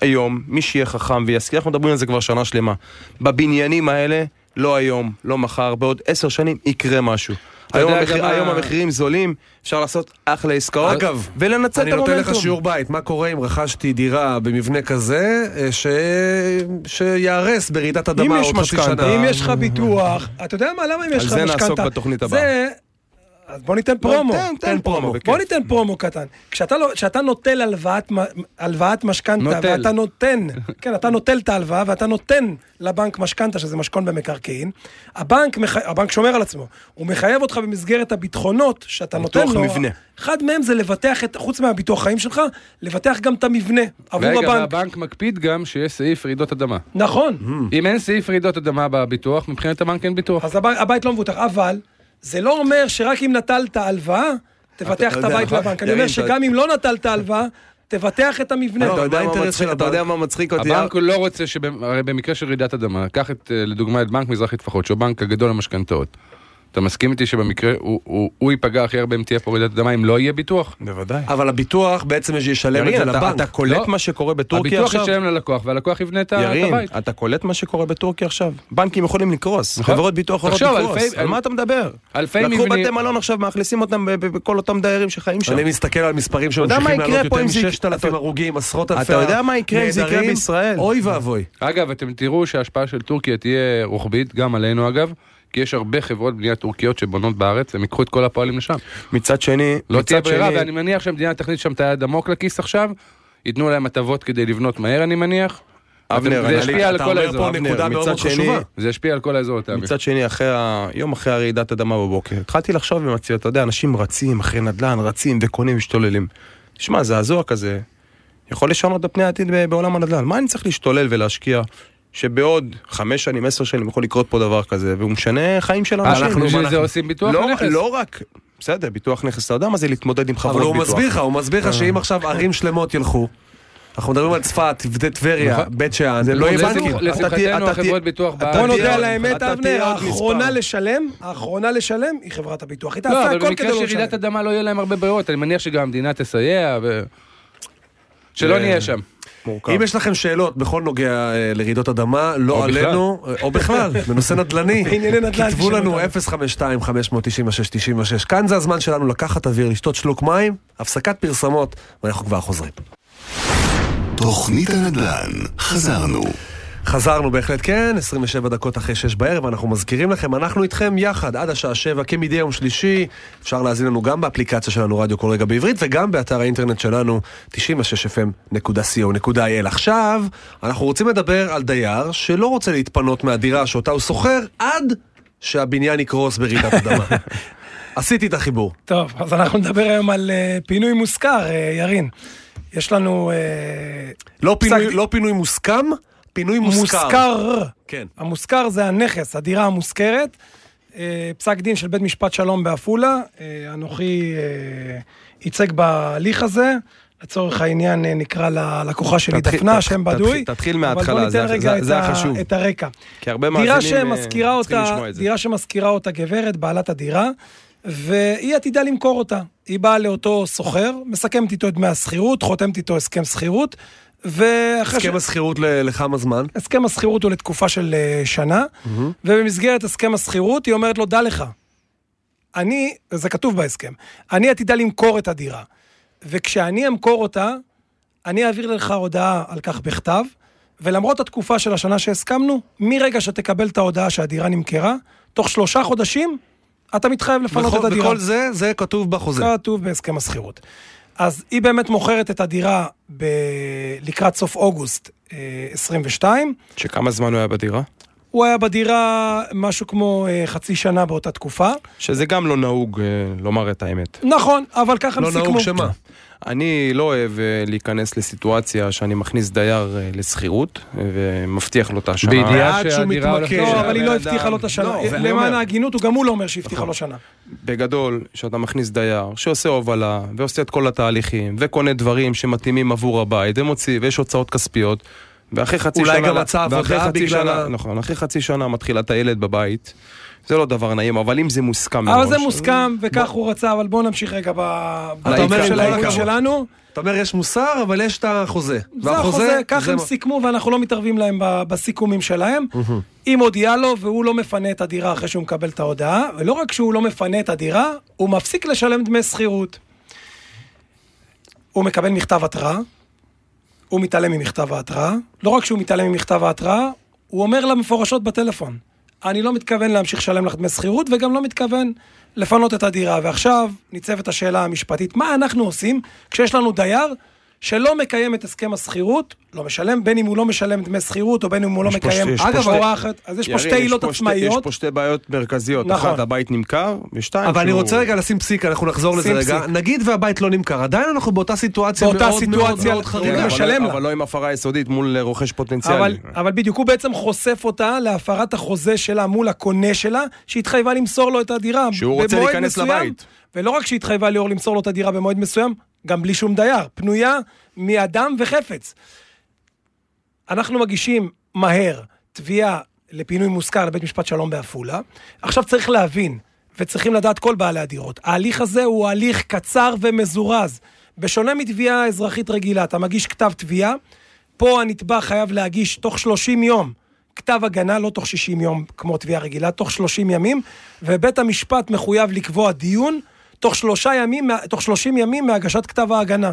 Speaker 3: היום, מי שיהיה חכם וישכיל, אנחנו מדברים על זה כבר שנה שלמה. בבניינים האלה, לא היום, לא מחר, בעוד עשר שנים יקרה משהו. היום,
Speaker 4: יודע
Speaker 3: המחיר,
Speaker 4: גם ה-
Speaker 3: היום המחירים זולים, אפשר לעשות אחלה עסקאות,
Speaker 2: אגב,
Speaker 3: ולנצל
Speaker 2: אני
Speaker 3: את המומנטום.
Speaker 2: נותן לך שיעור בית, מה קורה אם רכשתי דירה במבנה כזה אה, ש... שיהרס ברעידת אדמה
Speaker 3: יש
Speaker 2: עוד חצי
Speaker 3: משכנתה,
Speaker 2: שנה?
Speaker 5: אם יש לך ביטוח, אתה יודע מה, למה אם יש לך
Speaker 3: אה. על זה
Speaker 5: משכנתה?
Speaker 3: נעסוק בתוכנית הבאה. לא,
Speaker 5: זה... אז בוא ניתן פרומו.
Speaker 3: תן, תן פרומו, כן. בכיף.
Speaker 5: בוא ניתן פרומו קטן. כשאתה לא- כשאתה נוטל הלוואת מ- הלוואת משכנתה,
Speaker 4: נוטל.
Speaker 5: ואתה נותן, כן, אתה נוטל את ההלוואה ואתה נותן לבנק משכנתה, שזה משכון במקרקעין, הבנק מח- הבנק שומר על עצמו. הוא מחייב אותך במסגרת הביטחונות שאתה נותן
Speaker 3: ביטוח
Speaker 5: לו.
Speaker 3: מבנה.
Speaker 5: אחד מהם זה לבטח את, חוץ מהביטוח חיים שלך, לבטח גם את המבנה עבור
Speaker 4: רגע,
Speaker 5: הבנק.
Speaker 4: והבנק מקפיד גם שיש סעיף רעידות אדמה.
Speaker 5: נכון.
Speaker 4: אם אין סעיף רעידות אדמה בביטוח, מבחינת הבנק אין ביטוח.
Speaker 5: אז הבית, הבית לא מבוטח, אבל זה לא אומר שרק אם נטלת הלוואה, תבטח את
Speaker 3: יודע,
Speaker 5: הבית
Speaker 3: נכון?
Speaker 5: לבנק. אני
Speaker 3: ירין,
Speaker 5: אומר
Speaker 3: אתה-
Speaker 5: שגם אם לא נטלת הלוואה, תבטח את המבנה.
Speaker 2: לא,
Speaker 3: אתה יודע
Speaker 2: מה
Speaker 3: מה
Speaker 2: האינטרס
Speaker 3: מצחיק-
Speaker 2: של
Speaker 3: אתה יודע
Speaker 2: הבנק?
Speaker 3: מה מצחיק אותי?
Speaker 4: הבנק הוא לא רוצה, שב- הרי במקרה של רעידת אדמה, קח את, אה, לדוגמה את בנק מזרחי טפחות, שהוא הבנק הגדול למשכנתאות. אתה מסכים איתי שבמקרה הוא- הוא הוא ייפגע הכי הרבה אם תהיה פה רעידת אדמה, אם לא יהיה ביטוח?
Speaker 3: בוודאי.
Speaker 2: אבל הביטוח בעצם ישלם את
Speaker 3: ירין,
Speaker 2: זה
Speaker 3: אתה-
Speaker 2: לבנק.
Speaker 3: אתה קולט
Speaker 4: לא.
Speaker 3: מה שקורה בטורקיה
Speaker 4: הביטוח
Speaker 3: עכשיו?
Speaker 4: ישלם ללקוח, והלקוח יבנה את ה- את
Speaker 3: ירין,
Speaker 4: הבית.
Speaker 3: אתה קולט מה שקורה בטורקיה עכשיו? בנקים יכולים לקרוס,
Speaker 4: נכון.
Speaker 3: חברות ביטוח יכולות
Speaker 4: תחשוב,
Speaker 3: לקרוס,
Speaker 4: אלפי-
Speaker 3: על מה אתה מדבר?
Speaker 4: אלפי
Speaker 3: לקחו
Speaker 4: מבנים-
Speaker 3: בתי מלון עכשיו, מאכלסים אותם ב- ב- בכל אותם דיירים שחיים שם.
Speaker 2: אני מסתכל על מספרים
Speaker 3: יודע
Speaker 2: שממשיכים
Speaker 3: מה יקרה
Speaker 2: לעלות
Speaker 3: פה
Speaker 2: יותר
Speaker 3: אם זה-
Speaker 2: מ-6,000
Speaker 3: אתה-
Speaker 2: הרוגים, עשרות אלפי
Speaker 3: אתה יודע מה יקרה אם זה יקרה
Speaker 2: נעדרים?
Speaker 3: בישראל?
Speaker 2: אוי ואבוי.
Speaker 4: אגב, אתם תראו שההשפעה של טורקיה תהיה רוחבית, גם עלינו אגב, כי יש הרבה חברות בנייה טורקיות שבונות בארץ, הם ייקחו את כל הפועלים לשם.
Speaker 3: מצד שני,
Speaker 4: לא
Speaker 3: מצד
Speaker 4: תהיה ברירה,
Speaker 3: שני-
Speaker 4: ואני מניח שהמדינה תכניס שם את היד עמוק לכיס עכשיו, ייתנו להם הטבות כדי לבנות מהר, אני מניח.
Speaker 3: אבנר,
Speaker 4: זה
Speaker 3: אני-
Speaker 4: ישפיע על
Speaker 2: אתה
Speaker 4: כל
Speaker 2: אומר
Speaker 4: האזור,
Speaker 2: פה
Speaker 4: אבנר,
Speaker 2: נקודה מאוד
Speaker 3: מצד
Speaker 2: מאוד
Speaker 3: שני-
Speaker 2: חשובה.
Speaker 4: זה ישפיע על כל האזור, תאמין.
Speaker 3: מצד שני, אחרי ה... יום אחרי הרעידת אדמה בבוקר, התחלתי לחשוב עם עצמי, אתה יודע, אנשים רצים אחרי נדל"ן, רצים וקונים ומשתוללים. תשמע, זעזוע כזה יכול לשנות את פני העתיד ב- בעולם הנדל"ן. מה אני צריך להשתולל ולהשקיע שבעוד חמש שנים, עשר שנים יכול לקרות פה דבר כזה, והוא משנה חיים של אנשים?
Speaker 4: אנחנו בשביל זה
Speaker 3: אנחנו-
Speaker 4: עושים ביטוח
Speaker 3: לא,
Speaker 4: לנכס.
Speaker 3: לא רק, בסדר, ביטוח נכס, אתה יודע מה זה להתמודד עם חברות
Speaker 2: אבל
Speaker 3: ביטוח. אה.
Speaker 2: הוא מסביר לך, הוא מסביר לך שאם עכשיו ערים שלמות ילכו, אנחנו מדברים על צפת, טבריה,
Speaker 3: נכון.
Speaker 2: בית שאן, לא יהיה
Speaker 4: לשמח-
Speaker 2: בנקים.
Speaker 4: לשמחתנו
Speaker 3: אתה- אתה-
Speaker 4: החברות ביטוח
Speaker 3: אתה-
Speaker 4: בארץ.
Speaker 5: בוא נודה
Speaker 3: תהיה
Speaker 5: על
Speaker 3: עוד-
Speaker 5: האמת,
Speaker 3: אתה
Speaker 5: אבנר,
Speaker 3: תהיה עוד
Speaker 5: האחרונה
Speaker 3: מספר.
Speaker 5: לשלם, האחרונה לשלם היא חברת הביטוח. היא
Speaker 4: לא,
Speaker 5: תעשה
Speaker 4: אבל
Speaker 5: הכל כדי
Speaker 4: במקרה
Speaker 5: לא
Speaker 4: של
Speaker 5: לשלם.
Speaker 4: רעידת אדמה לא יהיה להם הרבה ברירות, אני מניח שגם המדינה תסייע, ו... שלא נהיה שם.
Speaker 3: מורכב.
Speaker 2: אם יש לכם שאלות בכל נוגע אה, לרעידות אדמה, לא
Speaker 4: או בכלל.
Speaker 2: עלינו, אה, או בכלל, בנושא נדל"ני,
Speaker 5: בענייני נדל"ן,
Speaker 2: כתבו
Speaker 5: תשאלו
Speaker 2: לנו
Speaker 5: אותנו.
Speaker 2: 052-596-96. כאן זה הזמן שלנו לקחת אוויר, לשתות שלוק מים, הפסקת פרסמות, ואנחנו כבר חוזרים.
Speaker 1: תוכנית הנדל"ן, חזרנו.
Speaker 2: חזרנו בהחלט כן, 27 דקות אחרי 6 בערב, אנחנו מזכירים לכם, אנחנו איתכם יחד עד השעה 7 כמדי יום שלישי, אפשר להזין לנו גם באפליקציה שלנו רדיו כל רגע בעברית וגם באתר האינטרנט שלנו 96fm.co.il. עכשיו, אנחנו רוצים לדבר על דייר שלא רוצה להתפנות מהדירה שאותה הוא שוכר עד שהבניין יקרוס ברעידת אדמה. עשיתי את החיבור.
Speaker 5: טוב, אז אנחנו נדבר היום על אה, פינוי מושכר, אה, ירין. יש לנו... אה,
Speaker 2: לא
Speaker 5: פסק
Speaker 2: פינוי,
Speaker 5: דין-
Speaker 2: לא פינוי מוסכם, פינוי מושכר.
Speaker 5: מושכר.
Speaker 2: כן.
Speaker 5: המושכר זה הנכס, הדירה המושכרת. אה, פסק דין של בית משפט שלום בעפולה, אה, אנוכי אה, ייצג בהליך הזה. לצורך העניין אה, נקרא ללקוחה שלי
Speaker 3: תתחיל-
Speaker 5: דפנה,
Speaker 3: תת-
Speaker 5: שם
Speaker 3: תתחיל-
Speaker 5: בדוי.
Speaker 3: תתחיל
Speaker 5: אבל בוא
Speaker 3: מההתחלה,
Speaker 5: ניתן
Speaker 3: זה-
Speaker 5: רגע
Speaker 3: זה-
Speaker 5: את
Speaker 3: זה
Speaker 5: ה-
Speaker 3: החשוב.
Speaker 5: את הרקע.
Speaker 3: כי הרבה
Speaker 5: דירה
Speaker 3: מאזינים, אה,
Speaker 5: שמשכירה
Speaker 3: צריכים
Speaker 5: אותה,
Speaker 3: לשמוע את זה.
Speaker 5: דירה שמשכירה אותה גברת, בעלת הדירה, והיא עתידה למכור אותה. היא באה לאותו סוחר, מסכמת איתו את דמי השכירות, חותמת איתו הסכם שכירות, ואחרי... ש-
Speaker 2: הסכם השכירות ל- לכמה זמן?
Speaker 5: הסכם השכירות הוא לתקופה של אה, שנה, ובמסגרת הסכם השכירות היא אומרת לו, דע לך, אני, זה כתוב בהסכם, אני עתידה למכור את הדירה, וכשאני אמכור אותה, אני אעביר לך הודעה על כך בכתב, ולמרות התקופה של השנה שהסכמנו, מרגע שתקבל את ההודעה שהדירה נמכרה, תוך שלושה חודשים, אתה מתחייב לפנות את
Speaker 2: וכל-
Speaker 5: הדירה.
Speaker 2: נכון, וכל זה, זה כתוב בחוזה.
Speaker 5: כתוב בהסכם השכירות. אז היא באמת מוכרת את הדירה ב... לקראת סוף אוגוסט אה, 22,
Speaker 3: שכמה זמן הוא היה בדירה?
Speaker 5: הוא היה בדירה משהו כמו אה, חצי שנה באותה תקופה.
Speaker 3: שזה גם לא נהוג אה, לומר את האמת.
Speaker 5: נכון, אבל ככה הם
Speaker 2: לא
Speaker 5: סיכמו.
Speaker 2: נהוג שמה?
Speaker 3: אני לא אוהב אה, להיכנס לסיטואציה שאני מכניס דייר אה, לשכירות אה, ומבטיח לו את השנה.
Speaker 4: בידיעה
Speaker 2: ועד שהוא
Speaker 4: שהדירה הולכת...
Speaker 2: מתמכר.
Speaker 5: לא, אבל היא לא
Speaker 3: הבן
Speaker 5: הבטיחה
Speaker 3: אדם-
Speaker 5: לו את השנה.
Speaker 2: לא, ואני
Speaker 5: למען
Speaker 2: אומר-
Speaker 5: ההגינות, הוא גם הוא לא אומר שהבטיחה לו שנה.
Speaker 3: בגדול, שאתה מכניס דייר שעושה הובלה ועושה את כל התהליכים וקונה דברים שמתאימים עבור הבית ומוציא ויש הוצאות כספיות ואחרי חצי
Speaker 2: אולי
Speaker 3: שנה...
Speaker 2: גם מצא
Speaker 3: ואחרי
Speaker 2: עבודה
Speaker 3: חצי
Speaker 2: בגלל
Speaker 3: שנה,
Speaker 2: ה-
Speaker 3: נכון, אחרי חצי שנה מתחילה הילד בבית. זה לא דבר נעים, אבל אם זה מוסכם
Speaker 2: לא,
Speaker 5: אבל
Speaker 3: מראש,
Speaker 5: זה
Speaker 3: אז-
Speaker 5: מוסכם, וכך הוא רצה, אבל בואו נמשיך רגע ב-
Speaker 2: אתה
Speaker 5: בתחום
Speaker 2: אומר
Speaker 5: של
Speaker 2: עם
Speaker 5: האירוע
Speaker 2: העיקרון.
Speaker 5: שלנו.
Speaker 2: אתה אומר, יש מוסר, אבל יש את החוזה.
Speaker 5: זה החוזה, כך
Speaker 2: זה
Speaker 5: הם
Speaker 2: מה-
Speaker 5: סיכמו, ואנחנו לא מתערבים להם ב- בסיכומים שלהם. היא מודיעה לו, והוא לא מפנה את הדירה אחרי שהוא מקבל את ההודעה, ולא רק שהוא לא מפנה את הדירה, הוא מפסיק לשלם דמי שכירות. הוא מקבל מכתב התראה, הוא מתעלם ממכתב ההתראה, לא רק שהוא מתעלם ממכתב ההתראה, הוא אומר לה מפורשות בטלפון, אני לא מתכוון להמשיך לשלם לך דמי שכירות וגם לא מתכוון לפנות את הדירה. ועכשיו ניצבת השאלה המשפטית, מה אנחנו עושים כשיש לנו דייר שלא מקיים את הסכם השכירות, לא משלם, בין אם הוא לא משלם דמי שכירות או בין אם הוא לא
Speaker 3: יש פה
Speaker 5: מקיים...
Speaker 3: שתי- יש פה
Speaker 5: אגב,
Speaker 3: שתי-
Speaker 5: הוראה אחת, אז יש פה
Speaker 3: יריב,
Speaker 5: שתי עילות
Speaker 3: פה שתי- יש
Speaker 5: עצמאיות.
Speaker 3: פה שתי בעיות מרכזיות.
Speaker 5: נכון.
Speaker 3: אחת, הבית נמכר, ושתיים,
Speaker 2: אבל אני
Speaker 3: שהוא-
Speaker 2: רוצה רגע לשים פסיק, אנחנו נחזור לזה
Speaker 5: שים
Speaker 2: רגע.
Speaker 5: פסיק.
Speaker 2: נגיד והבית לא נמכר, עדיין אנחנו באותה סיטואציה
Speaker 5: באותה
Speaker 2: מאוד מאוד
Speaker 5: סיטואציה,
Speaker 2: מאוד
Speaker 5: כן,
Speaker 2: חריגה.
Speaker 3: אבל-
Speaker 5: משלם לה.
Speaker 3: אבל לא עם הפרה יסודית מול אה, רוכש פוטנציאלי.
Speaker 5: אבל, אבל בדיוק, הוא בעצם חושף אותה להפרת החוזה שלה מול הקונה שלה, שהתחייבה למסור לו את הדירה
Speaker 3: שהוא רוצה
Speaker 5: במועד
Speaker 3: להיכנס
Speaker 5: מסוים.
Speaker 3: לבית.
Speaker 5: ולא רק שהתחייבה ליאור למסור לו את הדירה במועד מסוים, גם בלי שום דייר, פנויה מאדם וחפץ. אנחנו מגישים מהר תביעה לפינוי מושכר לבית משפט שלום בעפולה. עכשיו צריך להבין, וצריכים לדעת כל בעלי הדירות, ההליך הזה הוא הליך קצר ומזורז. בשונה מתביעה אזרחית רגילה, אתה מגיש כתב תביעה, פה הנתבע חייב להגיש תוך 30 יום כתב הגנה, לא תוך 60 יום כמו תביעה רגילה, תוך 30 ימים, ובית המשפט מחויב לקבוע דיון תוך, שלושה ימים, מה- תוך 30 ימים מהגשת כתב ההגנה.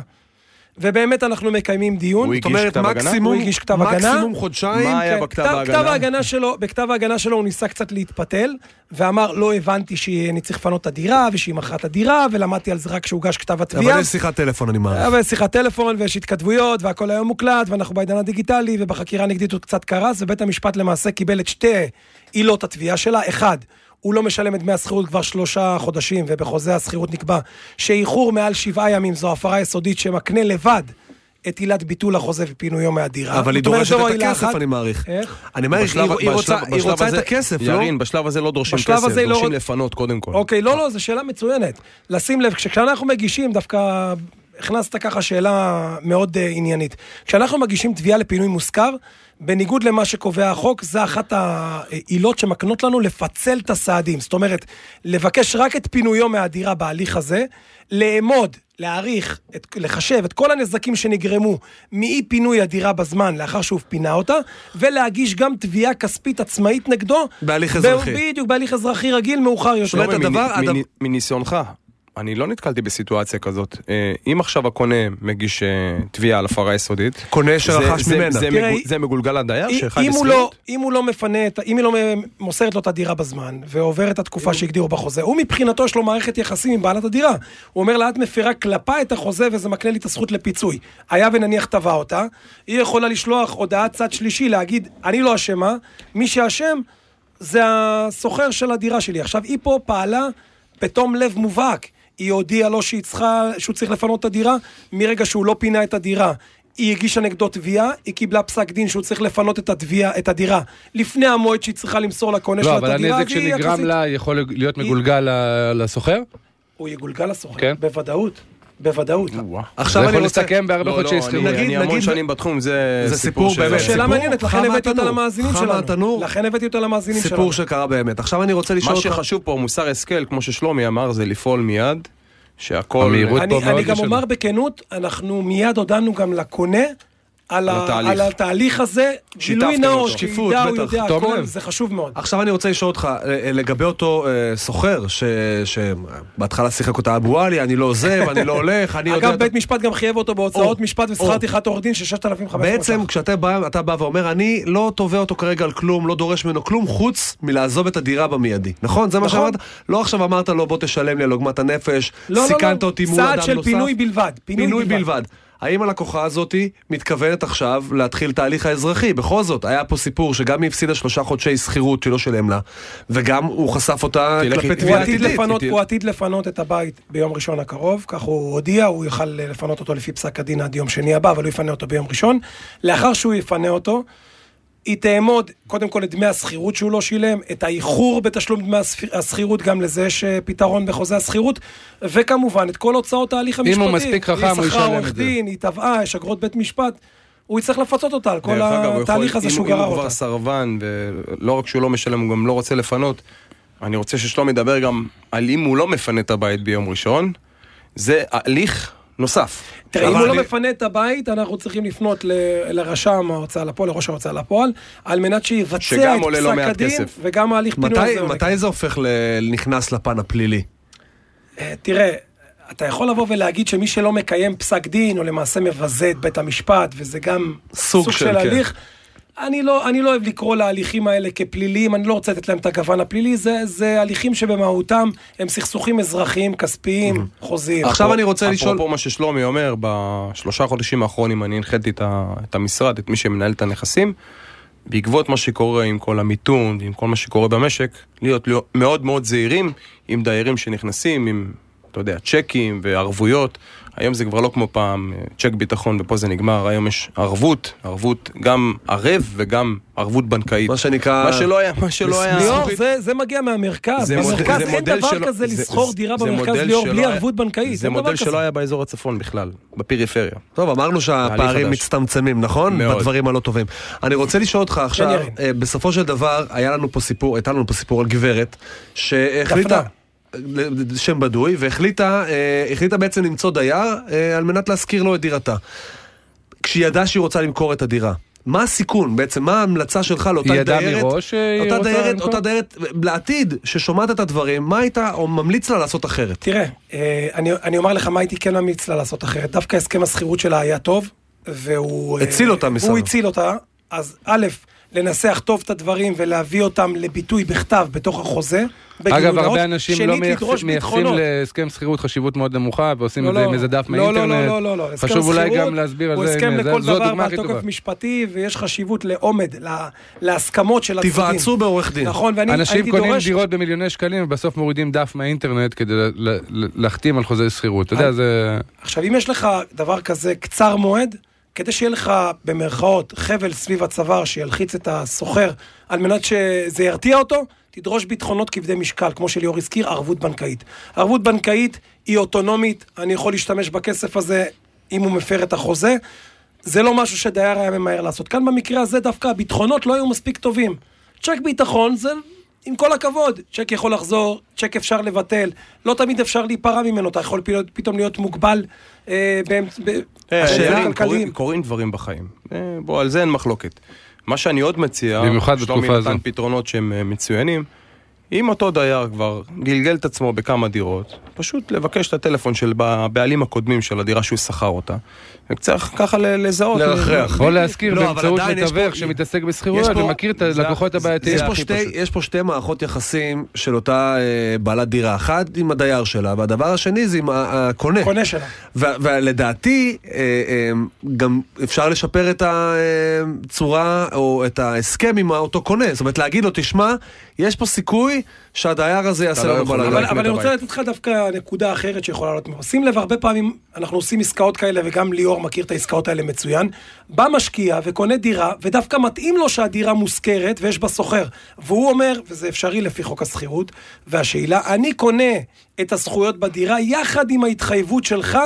Speaker 5: ובאמת אנחנו מקיימים דיון.
Speaker 3: הוא
Speaker 2: זאת אומרת,
Speaker 3: הגיש כתב הגנה?
Speaker 2: מקסימום-
Speaker 5: הוא הגיש כתב הגנה.
Speaker 2: מקסימום חודשיים.
Speaker 3: מה היה
Speaker 5: כן,
Speaker 3: בכתב
Speaker 5: כתב-
Speaker 3: ההגנה?
Speaker 5: כתב ההגנה שלו, בכתב ההגנה שלו הוא ניסה קצת להתפתל, ואמר, לא הבנתי שאני צריך לפנות את הדירה, ושהיא מכרה את הדירה, ולמדתי על זה רק כשהוגש כתב התביעה.
Speaker 2: אבל יש שיחת טלפון, אני מעריך.
Speaker 5: אבל יש שיחת אה, טלפון ויש התכתבויות והכל היום מוקלט ואנחנו בעידן הדיגיטלי ובחקירה הנגדית הוא קצת קרס ובית המשפט למעשה קיבל את שתי עילות התביעה שלה. אחד, הוא לא משלם את דמי השכירות כבר שלושה חודשים ובחוזה השכירות נקבע שאיחור מעל שבעה ימים זו הפרה יסודית שמקנה לבד את עילת ביטול החוזה ופינויו מהדירה.
Speaker 2: אבל היא
Speaker 5: זאת אומרת,
Speaker 2: דורשת
Speaker 5: זו לא
Speaker 2: את
Speaker 5: עילה
Speaker 2: הכסף,
Speaker 5: אחת.
Speaker 2: אני מעריך.
Speaker 5: איך?
Speaker 2: אני אומר,
Speaker 3: בשלב-
Speaker 2: היא- היא רוצה-
Speaker 3: בשלב-
Speaker 2: היא
Speaker 3: בשלב
Speaker 2: רוצה את
Speaker 3: הזה-
Speaker 2: הכסף, לא?
Speaker 3: ירין, בשלב הזה לא דורשים
Speaker 5: בשלב
Speaker 3: כסף,
Speaker 5: הזה לא
Speaker 3: דורשים
Speaker 5: רוצ-
Speaker 3: לפנות קודם כל.
Speaker 5: אוקיי,
Speaker 2: אה.
Speaker 5: לא, לא, זו שאלה מצוינת. לשים לב, כש- כשאנחנו מגישים, דווקא הכנסת ככה שאלה מאוד uh, עניינית. כשאנחנו מגישים תביעה לפינוי מושכר, בניגוד למה שקובע החוק, זה אחת העילות שמקנות לנו לפצל את הסעדים. זאת אומרת, לבקש רק את פינויו מהדירה בהליך הזה, לאמוד, להעריך, את, לחשב את כל הנזקים שנגרמו מאי פינוי הדירה בזמן לאחר שהוא פינה אותה, ולהגיש גם תביעה כספית עצמאית נגדו.
Speaker 2: בהליך
Speaker 5: ב-
Speaker 2: אזרחי.
Speaker 5: בדיוק, בהליך אזרחי רגיל מאוחר יותר.
Speaker 2: זאת אומרת,
Speaker 3: שלומי,
Speaker 2: הדבר-
Speaker 3: מני-
Speaker 2: הדבר-
Speaker 3: מני- מניסיונך, אני לא נתקלתי בסיטואציה כזאת. אה, אם עכשיו הקונה מגיש אה, תביעה על הפרה יסודית,
Speaker 2: קונה
Speaker 3: זה-
Speaker 2: שרכש
Speaker 3: זה-
Speaker 2: ממנה.
Speaker 3: זה
Speaker 5: תראה,
Speaker 3: מגו- זה מגולגל לדייר
Speaker 5: אם-
Speaker 3: שחי
Speaker 5: אם הוא לא,
Speaker 3: בשכירות?
Speaker 5: אם הוא לא מפנה, את ה- אם היא לא מ- מוסרת לו את הדירה בזמן, ועוברת את התקופה שהגדירו בחוזה, הוא מבחינתו יש לו מערכת יחסים עם בעלת הדירה. הוא אומר לה, את מפירה כלפיי את החוזה וזה מקנה לי את הזכות לפיצוי. היה ונניח תבע אותה, היא יכולה לשלוח הודעת צד שלישי, להגיד, אני לא אשמה, מי שאשם זה הסוחר של הדירה שלי. עכשיו, היא פה פעלה בתום לב מובהק. היא הודיעה לו שהיא צריכה, שהוא צריך לפנות את הדירה מרגע שהוא לא פינה את הדירה. היא הגישה נגדו תביעה, היא קיבלה פסק דין שהוא צריך לפנות את, התביעה, את הדירה לפני המועד שהיא צריכה למסור לקונה
Speaker 4: לא,
Speaker 5: שלה את
Speaker 4: אבל
Speaker 5: הדירה,
Speaker 4: הנזק
Speaker 5: והיא
Speaker 4: שנגרם לה יכול להיות מגולגל ל- לסוחר?
Speaker 5: הוא יגולגל לסוחר,
Speaker 4: כן.
Speaker 5: בוודאות, בוודאות.
Speaker 4: זה
Speaker 2: עכשיו אני
Speaker 4: יכול
Speaker 2: רוצה...
Speaker 4: להסתכם בהרבה
Speaker 3: לא, לא,
Speaker 4: חודשי
Speaker 3: אני-
Speaker 4: שכירות.
Speaker 2: נגיד-
Speaker 3: אני המון
Speaker 2: נגיד-
Speaker 3: שנים בתחום, זה
Speaker 2: זה סיפור
Speaker 3: של-
Speaker 2: באמת.
Speaker 5: שאלה
Speaker 2: סיפור?
Speaker 5: מעניינת, לכן
Speaker 2: חם
Speaker 5: הבאתי אותה
Speaker 2: מהתנור.
Speaker 5: למאזינים
Speaker 2: חם
Speaker 5: שלנו.
Speaker 2: מהתנור.
Speaker 5: לכן הבאתי אותה למאזינים שלנו.
Speaker 2: סיפור שקרה באמת. עכשיו אני רוצה לשאול
Speaker 3: מה
Speaker 2: אותך...
Speaker 3: שחשוב פה, מוסר השכל, כמו ששלומי אמר, זה לפעול מיד, שהכל...
Speaker 4: המהירות
Speaker 5: אני,
Speaker 4: פה מאוד
Speaker 5: אני גם
Speaker 4: משנה.
Speaker 5: אומר בכנות, אנחנו מיד הודענו גם לקונה על, ה-
Speaker 3: התהליך.
Speaker 5: על התהליך הזה. גילוי נאות,
Speaker 2: אותו.
Speaker 5: שידע,
Speaker 2: שקיפות,
Speaker 5: הוא
Speaker 2: בטח.
Speaker 5: יודע
Speaker 4: תום
Speaker 5: הכל,
Speaker 4: לב.
Speaker 5: זה חשוב מאוד.
Speaker 2: עכשיו אני רוצה לשאול אותך, אה, אה, לגבי אותו אה, סוחר, שבהתחלה שיחק אותה אבו עלי, אני לא עוזב, אני לא הולך, אני יודע...
Speaker 5: אגב, בית משפט גם חייב אותו בהוצאות
Speaker 2: או,
Speaker 5: משפט ושכר
Speaker 2: או.
Speaker 5: טרחת עורך דין של 6,500
Speaker 2: בעצם כשאתה בא, אתה בא ואומר, אני לא תובע אותו כרגע על כלום, לא דורש ממנו כלום, חוץ מלעזוב את הדירה במיידי. נכון? זה מה
Speaker 5: נכון.
Speaker 2: שאמרת? לא עכשיו אמרת לו, בוא תשלם לי על עוגמת הנפש,
Speaker 5: לא, לא,
Speaker 2: סיכנת
Speaker 5: לא.
Speaker 2: אותי מול אדם
Speaker 5: סעד
Speaker 2: נוסף.
Speaker 5: של פינוי בלבד.
Speaker 2: פינוי בלבד. האם הלקוחה הזאת מתכוונת עכשיו להתחיל תהליך האזרחי? בכל זאת, היה פה סיפור שגם היא הפסידה שלושה חודשי שכירות שלא שילם לה, וגם הוא חשף אותה
Speaker 3: תלך
Speaker 2: כלפי
Speaker 3: איתי.
Speaker 2: תביעה
Speaker 5: הוא עתיד,
Speaker 2: עתידית.
Speaker 5: לפנות,
Speaker 3: איתי.
Speaker 5: הוא עתיד לפנות את הבית ביום ראשון הקרוב, כך הוא הודיע, הוא יוכל אה, לפנות אותו לפי פסק הדין עד יום שני הבא, אבל הוא יפנה אותו ביום ראשון. לאחר שהוא יפנה אותו, היא תאמוד קודם כל את דמי השכירות שהוא לא שילם, את האיחור בתשלום דמי הספ- השכירות, גם לזה יש אה, פתרון בחוזה השכירות, וכמובן את כל הוצאות ההליך המשפטי.
Speaker 4: הוא מספיק חכם, הוא
Speaker 5: היא שכרה
Speaker 4: ישלם
Speaker 5: עורך
Speaker 4: את זה.
Speaker 5: דין, היא תבעה, יש אגרות בית משפט. הוא יצטרך לפצות אותה על כל
Speaker 3: דרך אגב, הוא יכול-
Speaker 5: התהליך הזה
Speaker 3: אם-
Speaker 5: שהוא גרר
Speaker 3: אם הוא כבר
Speaker 5: אותה.
Speaker 3: סרבן, ולא רק שהוא לא משלם, הוא גם לא רוצה לפנות. אני רוצה ששלום ידבר גם על אם הוא לא מפנה את הבית ביום ראשון, זה הליך נוסף.
Speaker 5: תראה, אם
Speaker 2: אבל
Speaker 5: הוא לא
Speaker 2: אני-
Speaker 5: מפנה את הבית, אנחנו צריכים לפנות ל- לרשם ההוצאה לפועל, לראש ההוצאה לפועל, על מנת שיבצע
Speaker 3: שגם
Speaker 5: את
Speaker 3: עולה לא
Speaker 5: פסק
Speaker 3: מעט
Speaker 5: הדין,
Speaker 3: כסף.
Speaker 5: וגם ההליך פינוי הזה.
Speaker 2: מתי,
Speaker 5: עולה.
Speaker 2: מתי זה הופך לנכנס לפן הפלילי?
Speaker 5: אה, תראה, אתה יכול לבוא ולהגיד שמי שלא מקיים פסק דין, הוא למעשה מבזה את בית המשפט, וזה גם
Speaker 2: סוג
Speaker 5: סוג
Speaker 2: של,
Speaker 5: של
Speaker 2: כן.
Speaker 5: הליך. אני לא, אני לא אוהב לקרוא להליכים האלה כפליליים, אני לא רוצה לתת להם את הגוון הפלילי, זה, זה הליכים שבמהותם הם סכסוכים אזרחיים, כספיים, חוזיים.
Speaker 2: עכשיו אני רוצה לשאול...
Speaker 3: אפרופו מה ששלומי אומר, בשלושה חודשים האחרונים אני הנחיתי את ה- את המשרד, את מי שמנהל את הנכסים, בעקבות מה שקורה עם כל המיתון, עם כל מה שקורה במשק, להיות להיות מאוד מאוד זהירים עם דיירים שנכנסים, עם, אתה יודע, צ'קים וערבויות. היום זה כבר לא כמו פעם, אה, צ'ק ביטחון ופה זה נגמר, היום יש ערבות, ערבות גם ערב וגם ערבות בנקאית.
Speaker 2: מה שנקרא-
Speaker 3: מה שלא היה, מה שלא היה.
Speaker 5: ליאור, זה, זה מגיע מהמרכז.
Speaker 3: זה מודל-
Speaker 5: במרכז
Speaker 3: זה
Speaker 5: אין
Speaker 3: מודל
Speaker 5: דבר
Speaker 3: שלא-
Speaker 5: כזה
Speaker 3: זה-
Speaker 5: לסחור
Speaker 3: זה-
Speaker 5: דירה
Speaker 3: זה
Speaker 5: במרכז,
Speaker 3: מודל
Speaker 5: ליאור,
Speaker 3: שלא
Speaker 5: בלי
Speaker 3: היה-
Speaker 5: ערבות בנקאית.
Speaker 3: זה
Speaker 5: אין
Speaker 3: מודל
Speaker 5: דבר
Speaker 3: שלא
Speaker 5: כזה.
Speaker 3: היה באזור הצפון בכלל, בפריפריה.
Speaker 4: אה,
Speaker 2: טוב, אמרנו שהפערים
Speaker 3: חדש.
Speaker 2: מצטמצמים, נכון?
Speaker 3: מאוד.
Speaker 2: בדברים הלא טובים. אני רוצה לשאול אותך עכשיו,
Speaker 5: ירין.
Speaker 2: אה, בסופו של דבר, היה לנו פה סיפור, הייתה לנו פה סיפור על גברת, שהחליטה... ל- שם בדוי, והחליטה אה, החליטה בעצם למצוא דייר אה, על מנת להשכיר לו את דירתה. כשהיא ידעה שהיא רוצה למכור את הדירה. מה הסיכון בעצם? מה ההמלצה שלך לאותה
Speaker 4: היא
Speaker 2: דיירת?
Speaker 4: ידעה מראש שהיא
Speaker 2: אותה
Speaker 4: רוצה
Speaker 2: דיירת,
Speaker 4: למכור?
Speaker 2: אותה דיירת, לעתיד, ששומעת את הדברים, מה הייתה, או ממליץ לה לעשות אחרת?
Speaker 5: תראה, אה, אני, אני אומר לך מה הייתי כן ממליץ לה לעשות אחרת. דווקא הסכם השכירות שלה היה טוב, והוא... אה,
Speaker 2: הציל אותה מסדר.
Speaker 5: הוא הציל אותה. אז א', לנסח טוב את הדברים ולהביא אותם לביטוי בכתב בתוך החוזה. בגילוי
Speaker 4: אגב,
Speaker 5: נאות.
Speaker 4: הרבה אנשים לא
Speaker 5: שנית, לדרוש
Speaker 4: מייחס- מייחסים
Speaker 5: ביטחונות.
Speaker 4: להסכם שכירות חשיבות מאוד נמוכה, ועושים
Speaker 5: לא,
Speaker 4: את זה
Speaker 5: לא.
Speaker 4: עם איזה דף
Speaker 5: לא,
Speaker 4: מהאינטרנט.
Speaker 5: לא, לא, לא, לא, הסכם
Speaker 4: חשוב אולי
Speaker 5: שכירות
Speaker 4: גם להסביר על
Speaker 5: הוא
Speaker 4: זה,
Speaker 5: הסכם
Speaker 4: הנה,
Speaker 5: לכל
Speaker 4: זו
Speaker 5: דבר
Speaker 4: הדוגמה הכי
Speaker 5: בעל
Speaker 4: טובה.
Speaker 5: תוקף משפטי, ויש חשיבות לעומד, לה- להסכמות של הצדדים.
Speaker 2: תיוועצו בעורך דין.
Speaker 5: נכון, ואני
Speaker 4: אנשים
Speaker 5: הייתי
Speaker 4: קונים
Speaker 5: דורש...
Speaker 4: דירות במיליוני שקלים, ובסוף מורידים דף מהאינטרנט כדי ל- ל- ל- להחתים על חוזה שכירות. אתה יודע, זה...
Speaker 5: עכשיו, אם יש לך דבר כזה קצר מועד, כדי שיהיה לך במרכאות חבל סביב הצוואר שילחיץ את הסוחר על מנת שזה ירתיע אותו, תדרוש ביטחונות כבדי משקל, כמו שליאור הזכיר, ערבות בנקאית. ערבות בנקאית היא אוטונומית, אני יכול להשתמש בכסף הזה אם הוא מפר את החוזה. זה לא משהו שדייר היה ממהר לעשות. כאן במקרה הזה דווקא הביטחונות לא היו מספיק טובים. צ'ק ביטחון זה, עם כל הכבוד, צ'ק יכול לחזור, צ'ק אפשר לבטל, לא תמיד אפשר להיפרע ממנו, אתה יכול פתאום- פתאום להיות מוגבל אה, באמצ- ב-
Speaker 2: השאלה-
Speaker 5: השאלה
Speaker 3: קורים-
Speaker 5: כלכליים.
Speaker 3: קורים- קורים דברים בחיים. אה, בוא, על זה אין מחלוקת. מה שאני עוד מציע,
Speaker 4: במיוחד
Speaker 3: שלומי
Speaker 4: בתקופה הזו.
Speaker 3: נתן פתרונות שהם אה, מצוינים, אם אותו דייר כבר גלגל את עצמו בכמה דירות, פשוט לבקש את הטלפון של הבעלים הקודמים של הדירה שהוא שכר אותה, וצריך ככה ל- לזהות.
Speaker 2: לרחח.
Speaker 4: או להזכיר
Speaker 2: לא, אבל
Speaker 4: באמצעות
Speaker 2: עדיין יש פה-
Speaker 4: מתווך שמתעסק בשכירויות
Speaker 2: יש פה-
Speaker 4: ומכיר את
Speaker 3: זה-
Speaker 4: הלקוחות
Speaker 3: זה-
Speaker 4: הבעייתיים.
Speaker 2: יש פה,
Speaker 3: הכי
Speaker 2: שתי,
Speaker 3: פשוט.
Speaker 2: יש פה שתי מערכות יחסים של אותה אה, בעלת דירה, אחת עם הדייר שלה, והדבר השני זה עם ה- הקונה.
Speaker 5: קונה שלה.
Speaker 2: ו- ולדעתי, אה, אה, גם אפשר לשפר את הצורה או את ההסכם עם אותו קונה. זאת אומרת, להגיד לו, תשמע, יש פה סיכוי שהדייר הזה יעשה
Speaker 3: לא
Speaker 2: לנו
Speaker 3: יכול,
Speaker 2: בלאגן.
Speaker 5: אבל,
Speaker 3: יקנה
Speaker 5: אבל
Speaker 3: את
Speaker 5: אני רוצה
Speaker 3: הבית.
Speaker 5: לתת לך דווקא נקודה אחרת שיכולה לעלות ממנו. שים לב, הרבה פעמים אנחנו עושים עסקאות כאלה, וגם ליאור מכיר את העסקאות האלה מצוין. בא משקיע וקונה דירה, ודווקא מתאים לו שהדירה מושכרת ויש בה סוחר. והוא אומר, וזה אפשרי לפי חוק השכירות, והשאלה, אני קונה את הזכויות בדירה יחד עם ההתחייבות שלך.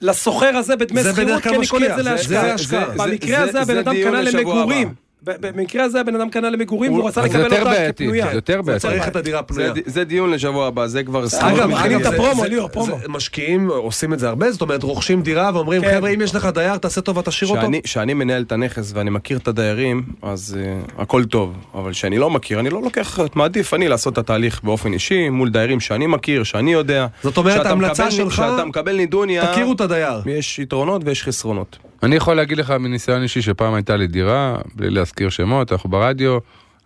Speaker 5: לסוחר הזה בדמי
Speaker 2: זה
Speaker 5: שכירות,
Speaker 2: בדרך כלל
Speaker 5: כי אני קונה את
Speaker 2: משקיע,
Speaker 5: זה
Speaker 2: זה-
Speaker 5: להשקעה.
Speaker 2: זה השקעה.
Speaker 3: זה-
Speaker 5: במקרה הזה
Speaker 3: זה-
Speaker 5: הבן
Speaker 3: זה
Speaker 5: אדם
Speaker 3: דיון
Speaker 5: קנה
Speaker 3: לשבוע
Speaker 5: למגורים.
Speaker 3: הבא.
Speaker 5: ב- במקרה הזה הבן אדם קנה למגורים והוא רצה
Speaker 4: אז זה
Speaker 5: לקבל
Speaker 4: יותר
Speaker 5: אותה
Speaker 4: בעייתי,
Speaker 5: כפנויה.
Speaker 4: זה יותר בעייתי.
Speaker 2: צריך את הדירה הפנויה.
Speaker 3: זה, ד- זה דיון לשבוע הבא, זה כבר...
Speaker 5: אגב, מכינים את
Speaker 2: זה-
Speaker 5: הפרומו,
Speaker 2: זה-
Speaker 5: ליאור, פרומו.
Speaker 2: זה- משקיעים עושים את זה הרבה, זאת אומרת, רוכשים דירה ואומרים,
Speaker 5: כן.
Speaker 2: חבר'ה, אם יש לך דייר, תעשה טובה, תשאיר אותו.
Speaker 3: שאני, שאני מנהל את הנכס ואני מכיר את הדיירים, אז uh, הכל טוב. אבל כשאני לא מכיר, אני לא לוקח, מעדיף אני לעשות את התהליך באופן אישי, מול דיירים שאני מכיר, שאני יודע.
Speaker 2: זאת אומרת,
Speaker 3: כשאתה
Speaker 2: ההמלצה
Speaker 3: מקבל-
Speaker 2: שלך-
Speaker 3: כשאתה מקבל נידוניה,
Speaker 2: תכירו את הדייר.
Speaker 3: יש יתרונות ויש חסרונות.
Speaker 4: אני יכול להגיד לך מניסיון אישי שפעם הייתה לי דירה, בלי להזכיר שמות, אנחנו ברדיו,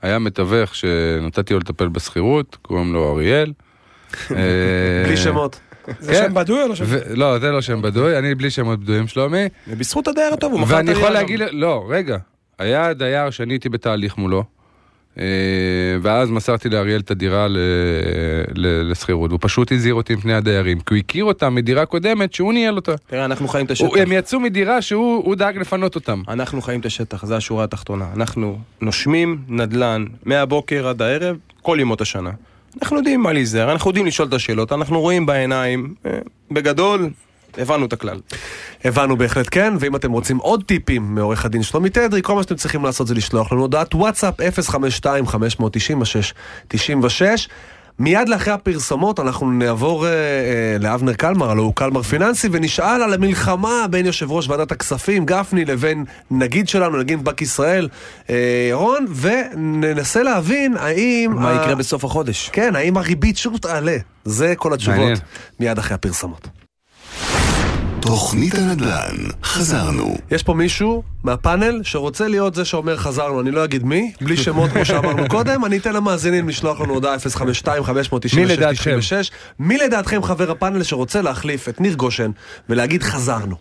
Speaker 4: היה מתווך שנתתי לו לטפל בשכירות, קוראים לו אריאל.
Speaker 2: אה, בלי שמות.
Speaker 5: זה שם בדוי או לא שם?
Speaker 4: אה, ו- לא, זה לא שם בדוי, אני בלי שמות בדויים, שלומי.
Speaker 3: ובזכות הדייר הטוב, הוא מכר את
Speaker 4: ואני יכול
Speaker 3: הדירה גם.
Speaker 4: להגיד, לא, רגע, היה דייר שאני הייתי בתהליך מולו, אה, ואז מסרתי לאריאל את הדירה ל- ל- לשכירות, והוא פשוט הזהיר אותי מפני הדיירים, כי הוא הכיר אותם מדירה קודמת שהוא ניהל אותה.
Speaker 3: תראה, אנחנו חיים את השטח.
Speaker 4: הוא- הם יצאו מדירה שהוא הוא דאג לפנות אותם.
Speaker 3: אנחנו חיים את השטח, זו השורה התחתונה. אנחנו נושמים נדל"ן מהבוקר עד הערב, כל ימות השנה. אנחנו יודעים מה להיזהר, אנחנו יודעים לשאול את השאלות, אנחנו רואים בעיניים. אה, בגדול, הבנו את הכלל.
Speaker 2: הבנו בהחלט כן, ואם אתם רוצים עוד טיפים מעורך הדין שלומי תדרי, כל מה שאתם צריכים לעשות זה לשלוח לנו הודעת וואטסאפ 052-596-96. מיד לאחרי הפרסומות אנחנו נעבור אה, אה, לאבנר קלמר, הלוא הוא קלמר פיננסי, ונשאל על המלחמה בין יושב ראש ועדת הכספים, גפני, לבין נגיד שלנו, נגיד בנק ישראל, אה, ירון, וננסה להבין האם...
Speaker 3: מה
Speaker 2: ה-
Speaker 3: יקרה בסוף החודש?
Speaker 2: כן, האם הריבית שוב תעלה? זה כל
Speaker 4: מעניין.
Speaker 2: התשובות מיד אחרי הפרסומות.
Speaker 1: תוכנית הנדל"ן, חזרנו.
Speaker 2: יש פה מישהו מהפאנל שרוצה להיות זה שאומר חזרנו, אני לא אגיד מי, בלי שמות כמו שאמרנו קודם, אני אתן למאזינים לשלוח לנו הודעה 052-596-96.
Speaker 4: מי לדעתכם?
Speaker 2: מי לדעתכם חבר הפאנל שרוצה להחליף את ניר גושן ולהגיד חזרנו?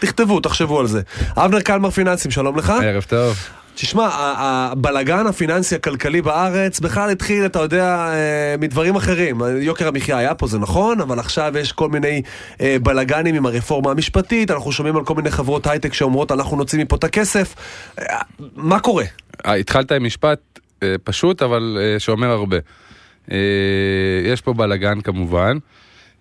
Speaker 2: תכתבו, תחשבו על זה. אבנר קלמר פיננסים, שלום לך.
Speaker 4: ערב טוב.
Speaker 2: תשמע, ה- הבלגן הפיננסי הכלכלי בארץ בכלל התחיל, אתה יודע, אה, מדברים אחרים. יוקר המחיה היה פה, זה נכון, אבל עכשיו יש כל מיני אה, בלגנים עם הרפורמה המשפטית, אנחנו שומעים על כל מיני חברות הייטק שאומרות, אנחנו נוציא מפה את הכסף. אה, מה קורה?
Speaker 4: אה, התחלת עם משפט אה, פשוט, אבל אה, שאומר הרבה. אה, יש פה בלאגן כמובן.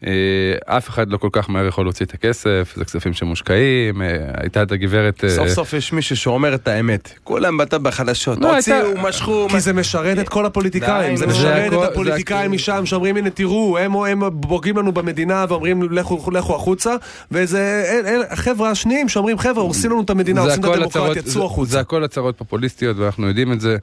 Speaker 4: אה, אף אחד לא כל כך מהר יכול להוציא את הכסף, זה כספים שמושקעים, אה, הייתה את הגברת... אה,
Speaker 3: סוף סוף יש מישהו שאומר את האמת. כולם באת בחדשות.
Speaker 4: לא,
Speaker 3: הוציאו,
Speaker 4: הייתה-
Speaker 3: משכו,
Speaker 2: כי זה משרת את כל הפוליטיקאים,
Speaker 3: די,
Speaker 2: זה
Speaker 3: נו.
Speaker 4: זה
Speaker 2: משרת
Speaker 4: הכל-
Speaker 2: את
Speaker 4: זה
Speaker 2: הפוליטיקאים
Speaker 4: הכל.
Speaker 2: משם שאומרים, הנה תראו, הם הם בוגעים לנו במדינה ואומרים, "לכו- לכו החוצה, וזה אל- אל- החבר'ה השניים שאומרים, חבר'ה, הורסים לנו את המדינה,
Speaker 4: זה
Speaker 2: הורסים את
Speaker 4: הכל הצהרות-
Speaker 2: הדמוקרטיה, צאו
Speaker 4: זה- זה
Speaker 2: החוצה.
Speaker 4: הכל הצהרות פופוליסטיות ואנחנו יודעים את זה.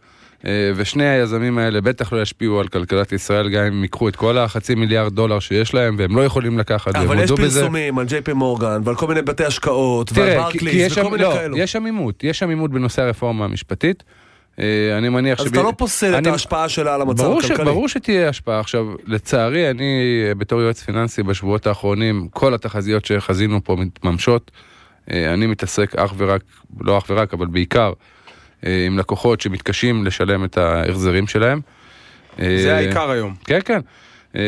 Speaker 4: אה, ושני היזמים האלה בטח לא ישפיעו על כלכלת ישראל גם אם ייקחו את כל החצי מיליארד דולר שיש להם והם לא יכולים לקחת, והם
Speaker 2: אבל יש
Speaker 4: הודו בזה.
Speaker 2: פרסומים על ג'יי פי מורגן ועל כל מיני בתי השקעות ועל
Speaker 4: תראה, כי- כי
Speaker 2: ברקליס
Speaker 4: יש
Speaker 2: וכל
Speaker 4: שם,
Speaker 2: מיני
Speaker 4: לא,
Speaker 2: כאלו.
Speaker 4: יש שם עימות, יש שם עימות בנושא הרפורמה המשפטית. אה, אני מניח
Speaker 2: אז אתה לא פוסל את
Speaker 4: אני-
Speaker 2: ההשפעה שלה על המצב
Speaker 4: ברור, ש...
Speaker 2: הכלכלי.
Speaker 4: ברור שתהיה השפעה. עכשיו, לצערי, אני אה, בתור יועץ פיננסי בשבועות האחרונים, כל התחזיות שחזינו פה מתממשות. אה, אני מתעסק אך ורק, לא אך ורק, אבל בעיקר אה, עם לקוחות שמתקשים לשלם את ההחזרים שלהם. אה,
Speaker 3: זה העיקר היום.
Speaker 4: כן, כן. אה,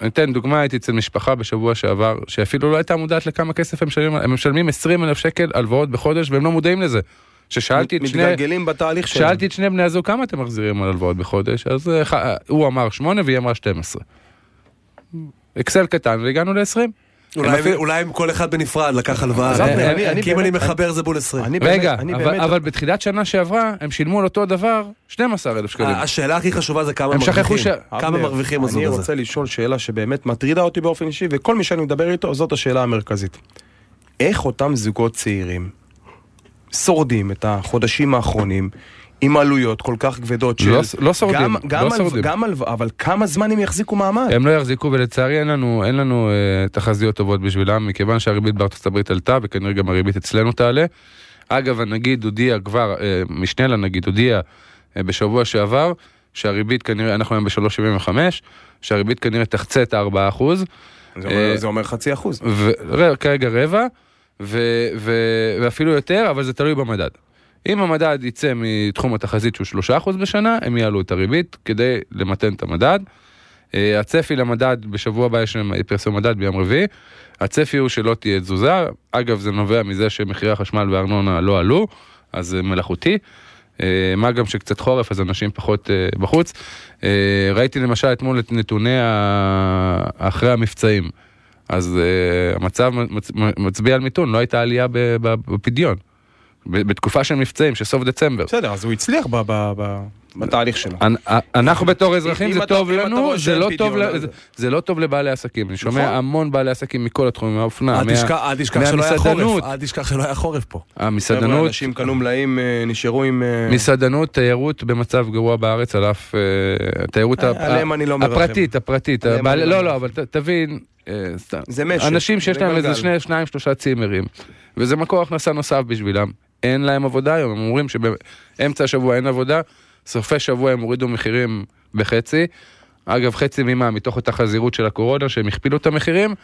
Speaker 4: אני אתן דוגמה, הייתי אצל משפחה בשבוע שעבר, שאפילו לא הייתה מודעת לכמה כסף הם משלמים, הם משלמים 20 אלף שקל הלוואות בחודש והם לא מודעים לזה. ששאלתי את שני...
Speaker 3: מתגלגלים בתהליך שלהם.
Speaker 4: שאלתי את שני בני הזוג כמה אתם מחזירים על הלוואות בחודש, אז אה, ח- אה, הוא אמר 8 והיא אמרה 12. אקסל קטן והגענו ל-20.
Speaker 2: אולי- אולי אם כל אחד בנפרד לקח הלוואה,
Speaker 3: עזוב,
Speaker 2: אה,
Speaker 3: אני- אני
Speaker 2: כי אם
Speaker 3: באמת-
Speaker 2: אני מחבר זה בול 20.
Speaker 3: אני באמת-
Speaker 4: רגע,
Speaker 3: אני
Speaker 4: אבל-
Speaker 3: באמת-
Speaker 4: אבל בתחילת שנה שעברה הם שילמו על אותו דבר 12,000
Speaker 3: אה,
Speaker 4: שקלים.
Speaker 2: ה- השאלה הכי חשובה זה כמה
Speaker 4: הם שכחו
Speaker 2: מרוויחים.
Speaker 4: ש-
Speaker 2: כמה
Speaker 3: אבנר,
Speaker 2: מרוויחים הזוג
Speaker 3: אני
Speaker 2: הזה.
Speaker 3: רוצה לשאול שאלה שבאמת מטרידה אותי באופן אישי, וכל מי שאני מדבר איתו, זאת השאלה המרכזית. איך אותם זוגות צעירים שורדים את החודשים האחרונים עם עלויות כל כך כבדות של...
Speaker 4: לא ש- לא שורדים,
Speaker 3: גם-
Speaker 4: לא
Speaker 3: גם הלו-
Speaker 4: שורדים.
Speaker 3: גם הלו- אבל כמה זמן הם יחזיקו מעמד?
Speaker 4: הם לא יחזיקו ולצערי אין לנו, אין לנו אה, תחזיות טובות בשבילם מכיוון שהריבית בארצות הברית עלתה וכנראה גם הריבית אצלנו תעלה. אגב הנגיד הודיע כבר, אה, משנה לנגיד הודיע אה, בשבוע שעבר שהריבית כנראה, אנחנו היום ב-3.75, שהריבית כנראה תחצה את ה-4%.
Speaker 3: זה אומר-
Speaker 4: אה,
Speaker 3: זה אומר חצי אחוז.
Speaker 4: ו- ר- כרגע רבע, ו- ו- ואפילו יותר, אבל זה תלוי במדד. אם המדד יצא מתחום התחזית שהוא 3% בשנה, הם יעלו את הריבית כדי למתן את המדד. אה, הצפי למדד, בשבוע הבא יש להם פרסום מדד ביום רביעי, הצפי הוא שלא תהיה תזוזה, אגב זה נובע מזה שמחירי החשמל והארנונה לא עלו, אז זה מלאכותי. אה, מה גם שקצת חורף אז אנשים פחות אה, בחוץ. אה, ראיתי למשל אתמול את נתוני ה- אחרי המבצעים. אז אה, המצב מצ- מצביע על מיתון, לא הייתה עלייה ב- ב- בפדיון. ב- בתקופה של מבצעים, של סוף דצמבר.
Speaker 3: בסדר, אז הוא הצליח ב- ב- ב- בתהליך שלו.
Speaker 4: אנ- א- אנחנו בתור
Speaker 3: אם
Speaker 4: אזרחים, זה
Speaker 3: אתה-
Speaker 4: טוב
Speaker 3: אם אתה רואה
Speaker 4: לנו, זה
Speaker 3: שאין
Speaker 4: לא
Speaker 3: פדיון,
Speaker 4: טוב ל-
Speaker 3: אז-
Speaker 4: זה- זה לא טוב לבעלי עסקים. אני
Speaker 3: נכון.
Speaker 4: שומע המון בעלי עסקים מכל התחומים, מהאופנה,
Speaker 2: אל
Speaker 4: מה-
Speaker 2: תשכח- אל תשכח שלא היה
Speaker 4: מהמסעדנות.
Speaker 2: חורף. אל תשכח שלא היה חורף פה.
Speaker 3: חבר'ה,
Speaker 4: המסעדנות,
Speaker 3: אנשים קנו מלאים, אה, נשארו עם... אה,
Speaker 4: מסעדנות, תיירות במצב גרוע בארץ, על אף אה, התיירות
Speaker 3: אה,
Speaker 4: הפ-
Speaker 3: עליהם אני לא מרחם.
Speaker 4: הפרטית, הפרטית.
Speaker 3: עליהם
Speaker 4: הבעל-
Speaker 3: אני לא
Speaker 4: לא,
Speaker 3: מרחם.
Speaker 4: לא, אבל ת- תבין, אה, סתם.
Speaker 3: זה משק.
Speaker 4: אנשים שיש
Speaker 3: זה
Speaker 4: להם איזה
Speaker 3: גלגל.
Speaker 4: שני, שניים, שלושה צימרים, וזה מקור הכנסה נוסף בשבילם. אין להם עבודה היום, הם אומרים שבאמצע השבוע אין עבודה, סופי שבוע הם הורידו מחירים בחצי. אגב, חצי ממה, מתוך אותה חזירות של הקורונה, שהם הכפילו את המחירים,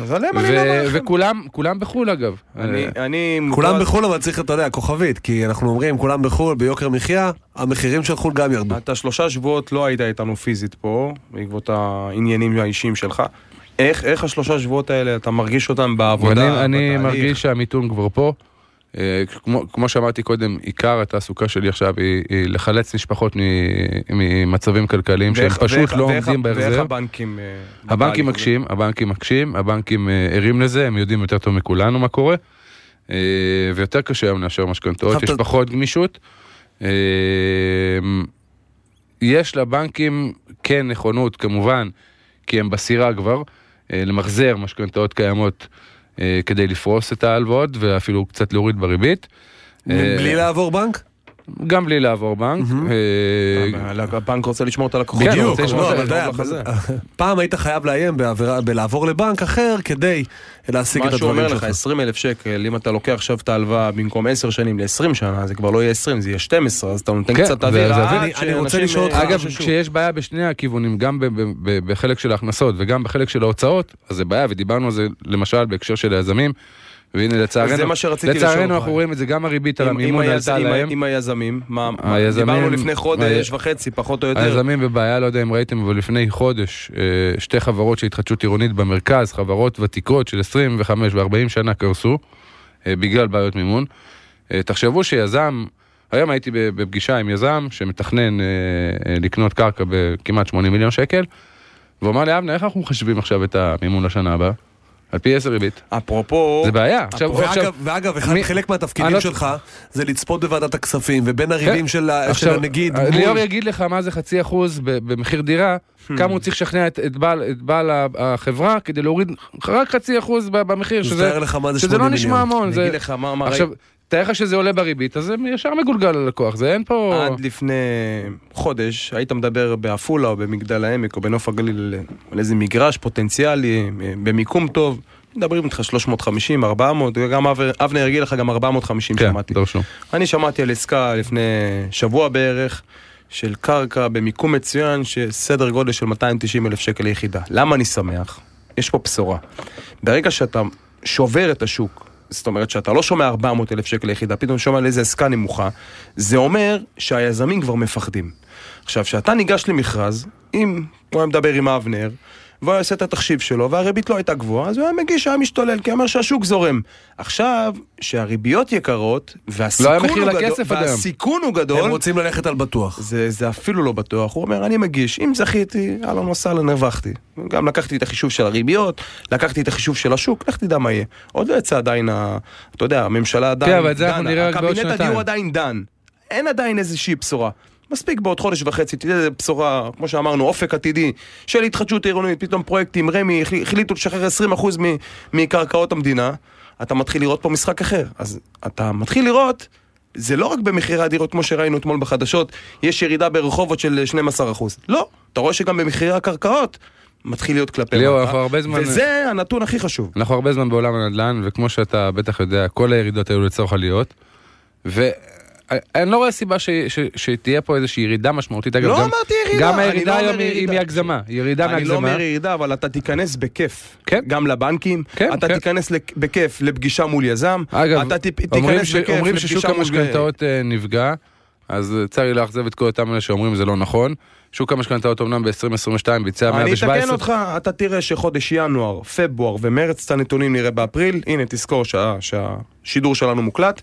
Speaker 7: אז עליהם אני לא אומר
Speaker 4: ו- אה,
Speaker 7: לכם.
Speaker 4: וכולם, כולם בחו"ל אגב.
Speaker 3: אני- אני
Speaker 2: כולם
Speaker 4: נכון.
Speaker 3: מוטרד-
Speaker 2: בחו"ל אבל צריך, אתה יודע, כוכבית, כי אנחנו אומרים, כולם בחו"ל, ביוקר מחיה, המחירים של חו"ל גם ירדו.
Speaker 3: אתה שלושה שבועות לא היית איתנו פיזית פה, בעקבות העניינים האישיים שלך. איך, איך השלושה שבועות האלה, אתה מרגיש אותם בעבודה,
Speaker 4: אני, אני
Speaker 3: בתהליך?
Speaker 4: מרגיש שהמיתון כבר פה. אה, כמו, כמו שאמרתי קודם, עיקר התעסוקה שלי עכשיו היא, היא לחלץ משפחות מ, ממצבים כלכליים שהם
Speaker 3: ואיך-
Speaker 4: פשוט
Speaker 3: ואיך-
Speaker 4: לא
Speaker 3: ואיך-
Speaker 4: עומדים
Speaker 3: ואיך
Speaker 4: בהחזר.
Speaker 3: הבנקים... אה, בתהליך
Speaker 4: הבנקים
Speaker 3: הזה?
Speaker 4: מקשים, הבנקים מקשים, הבנקים אה, ערים לזה, הם יודעים יותר טוב מכולנו מה קורה. אה, ויותר קשה היום לאשר משכנתאות,
Speaker 2: עכשיו
Speaker 4: יש
Speaker 2: אתה-
Speaker 4: פחות גמישות. אה, יש לבנקים כן נכונות, כמובן, כי הם בסירה כבר, אה, למחזר משכנתאות קיימות אה, כדי לפרוס את ההלוואות ואפילו קצת להוריד בריבית. אה,
Speaker 2: בלי לעבור בנק?
Speaker 4: גם בלי לעבור בנק. אה,
Speaker 3: אבל הבנק רוצה לשמור את הלקוחות.
Speaker 4: בדיוק,
Speaker 3: הוא רוצה לשמור
Speaker 4: לא,
Speaker 3: את
Speaker 4: אבל
Speaker 2: אתה יודע,
Speaker 3: הלקוחות לחזה.
Speaker 2: פעם היית חייב לאיים בעבירה- בלעבור לבנק אחר כדי להשיג את
Speaker 3: מה שהוא
Speaker 2: הדברים
Speaker 3: אומר לך,
Speaker 2: שלך.
Speaker 3: 20 אלף שקל, אם אתה לוקח עכשיו את ההלוואה במקום 10 שנים ל-20 שנה, זה כבר לא יהיה 20, זה יהיה 12, אז אתה נותן
Speaker 4: כן,
Speaker 3: קצת
Speaker 4: זה-
Speaker 3: אוויר.
Speaker 4: זה-
Speaker 3: עד
Speaker 2: אני- אני
Speaker 3: שאנשים,
Speaker 2: רוצה לשאול
Speaker 3: אה,
Speaker 2: אותך-
Speaker 4: אגב,
Speaker 3: יחששו.
Speaker 4: כשיש בעיה בשני הכיוונים, גם ב- ב- ב- בחלק של ההכנסות וגם בחלק של ההוצאות, אז זה בעיה, ודיברנו על זה למשל בהקשר של היזמים, והנה לצערנו,
Speaker 3: זה מה שרציתי לשאול אותך.
Speaker 4: לצערנו אנחנו רואים את זה, גם הריבית על
Speaker 3: עם- עם
Speaker 4: המימון
Speaker 3: היז-
Speaker 4: עלתה
Speaker 3: עם ה-
Speaker 4: להם,
Speaker 3: עם היזמים, מה- מה-
Speaker 4: היזמים-
Speaker 3: דיברנו לפני חודש
Speaker 4: ה-
Speaker 3: וחצי, פחות או יותר.
Speaker 4: היזמים בבעיה, לא יודע אם ראיתם, אבל לפני חודש, אה, שתי חברות של התחדשות עירונית במרכז, חברות ותיקות של 25 ו-40 שנה קרסו, אה, בגלל בעיות מימון. אה, תחשבו שיזם, היום הייתי ב- בפגישה עם יזם שמתכנן אה, אה, לקנות קרקע בכמעט 80 מיליון שקל, והוא אמר לי, אבנה, איך אנחנו מחשבים עכשיו את המימון לשנה הבאה? על פי 10 ריבית.
Speaker 3: אפרופו...
Speaker 4: זה בעיה. עכשיו, עכשיו-
Speaker 2: אוקיי. ואגב, ואגב, אחד-
Speaker 4: מי-
Speaker 2: חלק
Speaker 4: אני
Speaker 2: מהתפקידים
Speaker 4: לא- כן.
Speaker 2: שלך זה לצפות בוועדת הכספים, ובין הריבים של ה- של
Speaker 4: עכשיו,
Speaker 2: הנגיד
Speaker 4: אה,
Speaker 2: מול-
Speaker 4: ליאור יגיד לך מה זה חצי אחוז ב- במחיר דירה,
Speaker 3: Hmm.
Speaker 4: כמה הוא צריך לשכנע את, את בעל, את בעל ה- החברה כדי להוריד רק חצי אחוז ב- במחיר,
Speaker 2: אז
Speaker 4: שזה,
Speaker 2: תאר לך מה זה
Speaker 4: שזה לא
Speaker 2: 80
Speaker 4: נשמע
Speaker 2: מיליון.
Speaker 4: המון.
Speaker 3: אני
Speaker 4: זה,
Speaker 3: אגיד לך מה- מה
Speaker 4: עכשיו, תאר לך שזה עולה בריבית, אז זה ישר מגולגל ללקוח, זה אין פה...
Speaker 3: עד לפני חודש היית מדבר בעפולה או במגדל העמק או בנוף הגליל על איזה מגרש פוטנציאלי אה, במיקום טוב, מדברים איתך 350, 400, גם אב- אבנר יגיד לך גם 450
Speaker 4: כן,
Speaker 3: שמעתי.
Speaker 4: דרשו.
Speaker 3: אני שמעתי על עסקה לפני שבוע בערך של קרקע במיקום מצוין שסדר גודל של 290 אלף שקל ליחידה. למה אני שמח? יש פה בשורה. ברגע שאתה שובר את השוק, זאת אומרת שאתה לא שומע 400 אלף שקל ליחידה, פתאום שומע על איזה עסקה נמוכה, זה אומר שהיזמים כבר מפחדים. עכשיו, כשאתה ניגש למכרז, אם הוא היה מדבר עם אבנר, והוא היה עושה את התחשיב שלו, והריבית לא הייתה גבוהה, אז הוא היה מגיש, היה משתולל, כי הוא אומר שהשוק זורם. עכשיו, שהריביות יקרות,
Speaker 4: לא היה
Speaker 3: והסיכון
Speaker 4: מחיר
Speaker 3: הוא גדול,
Speaker 4: לכסף עד היום.
Speaker 3: והסיכון הוא
Speaker 2: הם
Speaker 3: גדול,
Speaker 2: רוצים ללכת על בטוח.
Speaker 3: זה, זה אפילו לא בטוח, הוא אומר, אני מגיש, אם זכיתי, אהלן וסהלן, הרווחתי. גם לקחתי את החישוב של הריביות, לקחתי את החישוב של השוק, לך תדע מה יהיה. עוד לא יצא עדיין, ה- אתה יודע, הממשלה עדיין
Speaker 4: כן, אבל את זה אנחנו נראה רק בעוד
Speaker 3: הקבינט
Speaker 4: שנתיים.
Speaker 3: הדיור עדיין דן. אין עדיין איזושהי בשורה. מספיק בעוד חודש וחצי, תהיה איזה בשורה, כמו שאמרנו, אופק עתידי של התחדשות עירונית, פתאום פרויקטים, רמ"י החל- החליטו לשחרר 20% מ- מקרקעות המדינה, אתה מתחיל לראות פה משחק אחר. אז אתה מתחיל לראות, זה לא רק במחירי הדירות, כמו שראינו אתמול בחדשות, יש ירידה ברחובות של 12%. לא, אתה רואה שגם במחירי הקרקעות מתחיל להיות כלפי
Speaker 4: ליאור,
Speaker 3: מטה,
Speaker 4: אנחנו הרבה זמן-
Speaker 3: וזה הנתון הכי חשוב.
Speaker 4: אנחנו הרבה זמן בעולם הנדל"ן, וכמו שאתה בטח יודע, כל הירידות היו לצורך עליות, ואני לא רואה סיבה ש... ש... שתהיה פה איזושהי ירידה משמעותית. אגב,
Speaker 3: לא
Speaker 4: גם...
Speaker 3: אמרתי ירידה,
Speaker 4: גם
Speaker 3: אני
Speaker 4: הירידה
Speaker 3: לא
Speaker 4: היום
Speaker 3: אומר
Speaker 4: היא- היא
Speaker 3: ירידה.
Speaker 4: מהגזמה, היא ירידה
Speaker 3: אני לא
Speaker 4: מהגזמה.
Speaker 3: אומר ירידה, אבל אתה תיכנס בכיף.
Speaker 4: כן.
Speaker 3: גם לבנקים.
Speaker 4: כן,
Speaker 3: אתה
Speaker 4: כן.
Speaker 3: תיכנס לק- בכיף לפגישה מול יזם.
Speaker 4: אגב,
Speaker 3: אתה טיפ-
Speaker 4: אומרים,
Speaker 3: תיכנס
Speaker 4: ש...
Speaker 3: בכיף
Speaker 4: אומרים
Speaker 3: לפגישה
Speaker 4: ששוק
Speaker 3: מול...
Speaker 4: המשכנתאות אה, נפגע, אז אה, צר לי לאכזב את כל אותם אלה שאומרים זה לא נכון. שוק המשכנתאות אמנם ב-2022 ביצע
Speaker 3: אני
Speaker 4: 117...
Speaker 3: אתקן אותך, אתה תראה שחודש ינואר, פברואר ומרץ, את הנתונים נראה באפריל. הנה, תזכור שה- שהשידור שלנו מוקלט.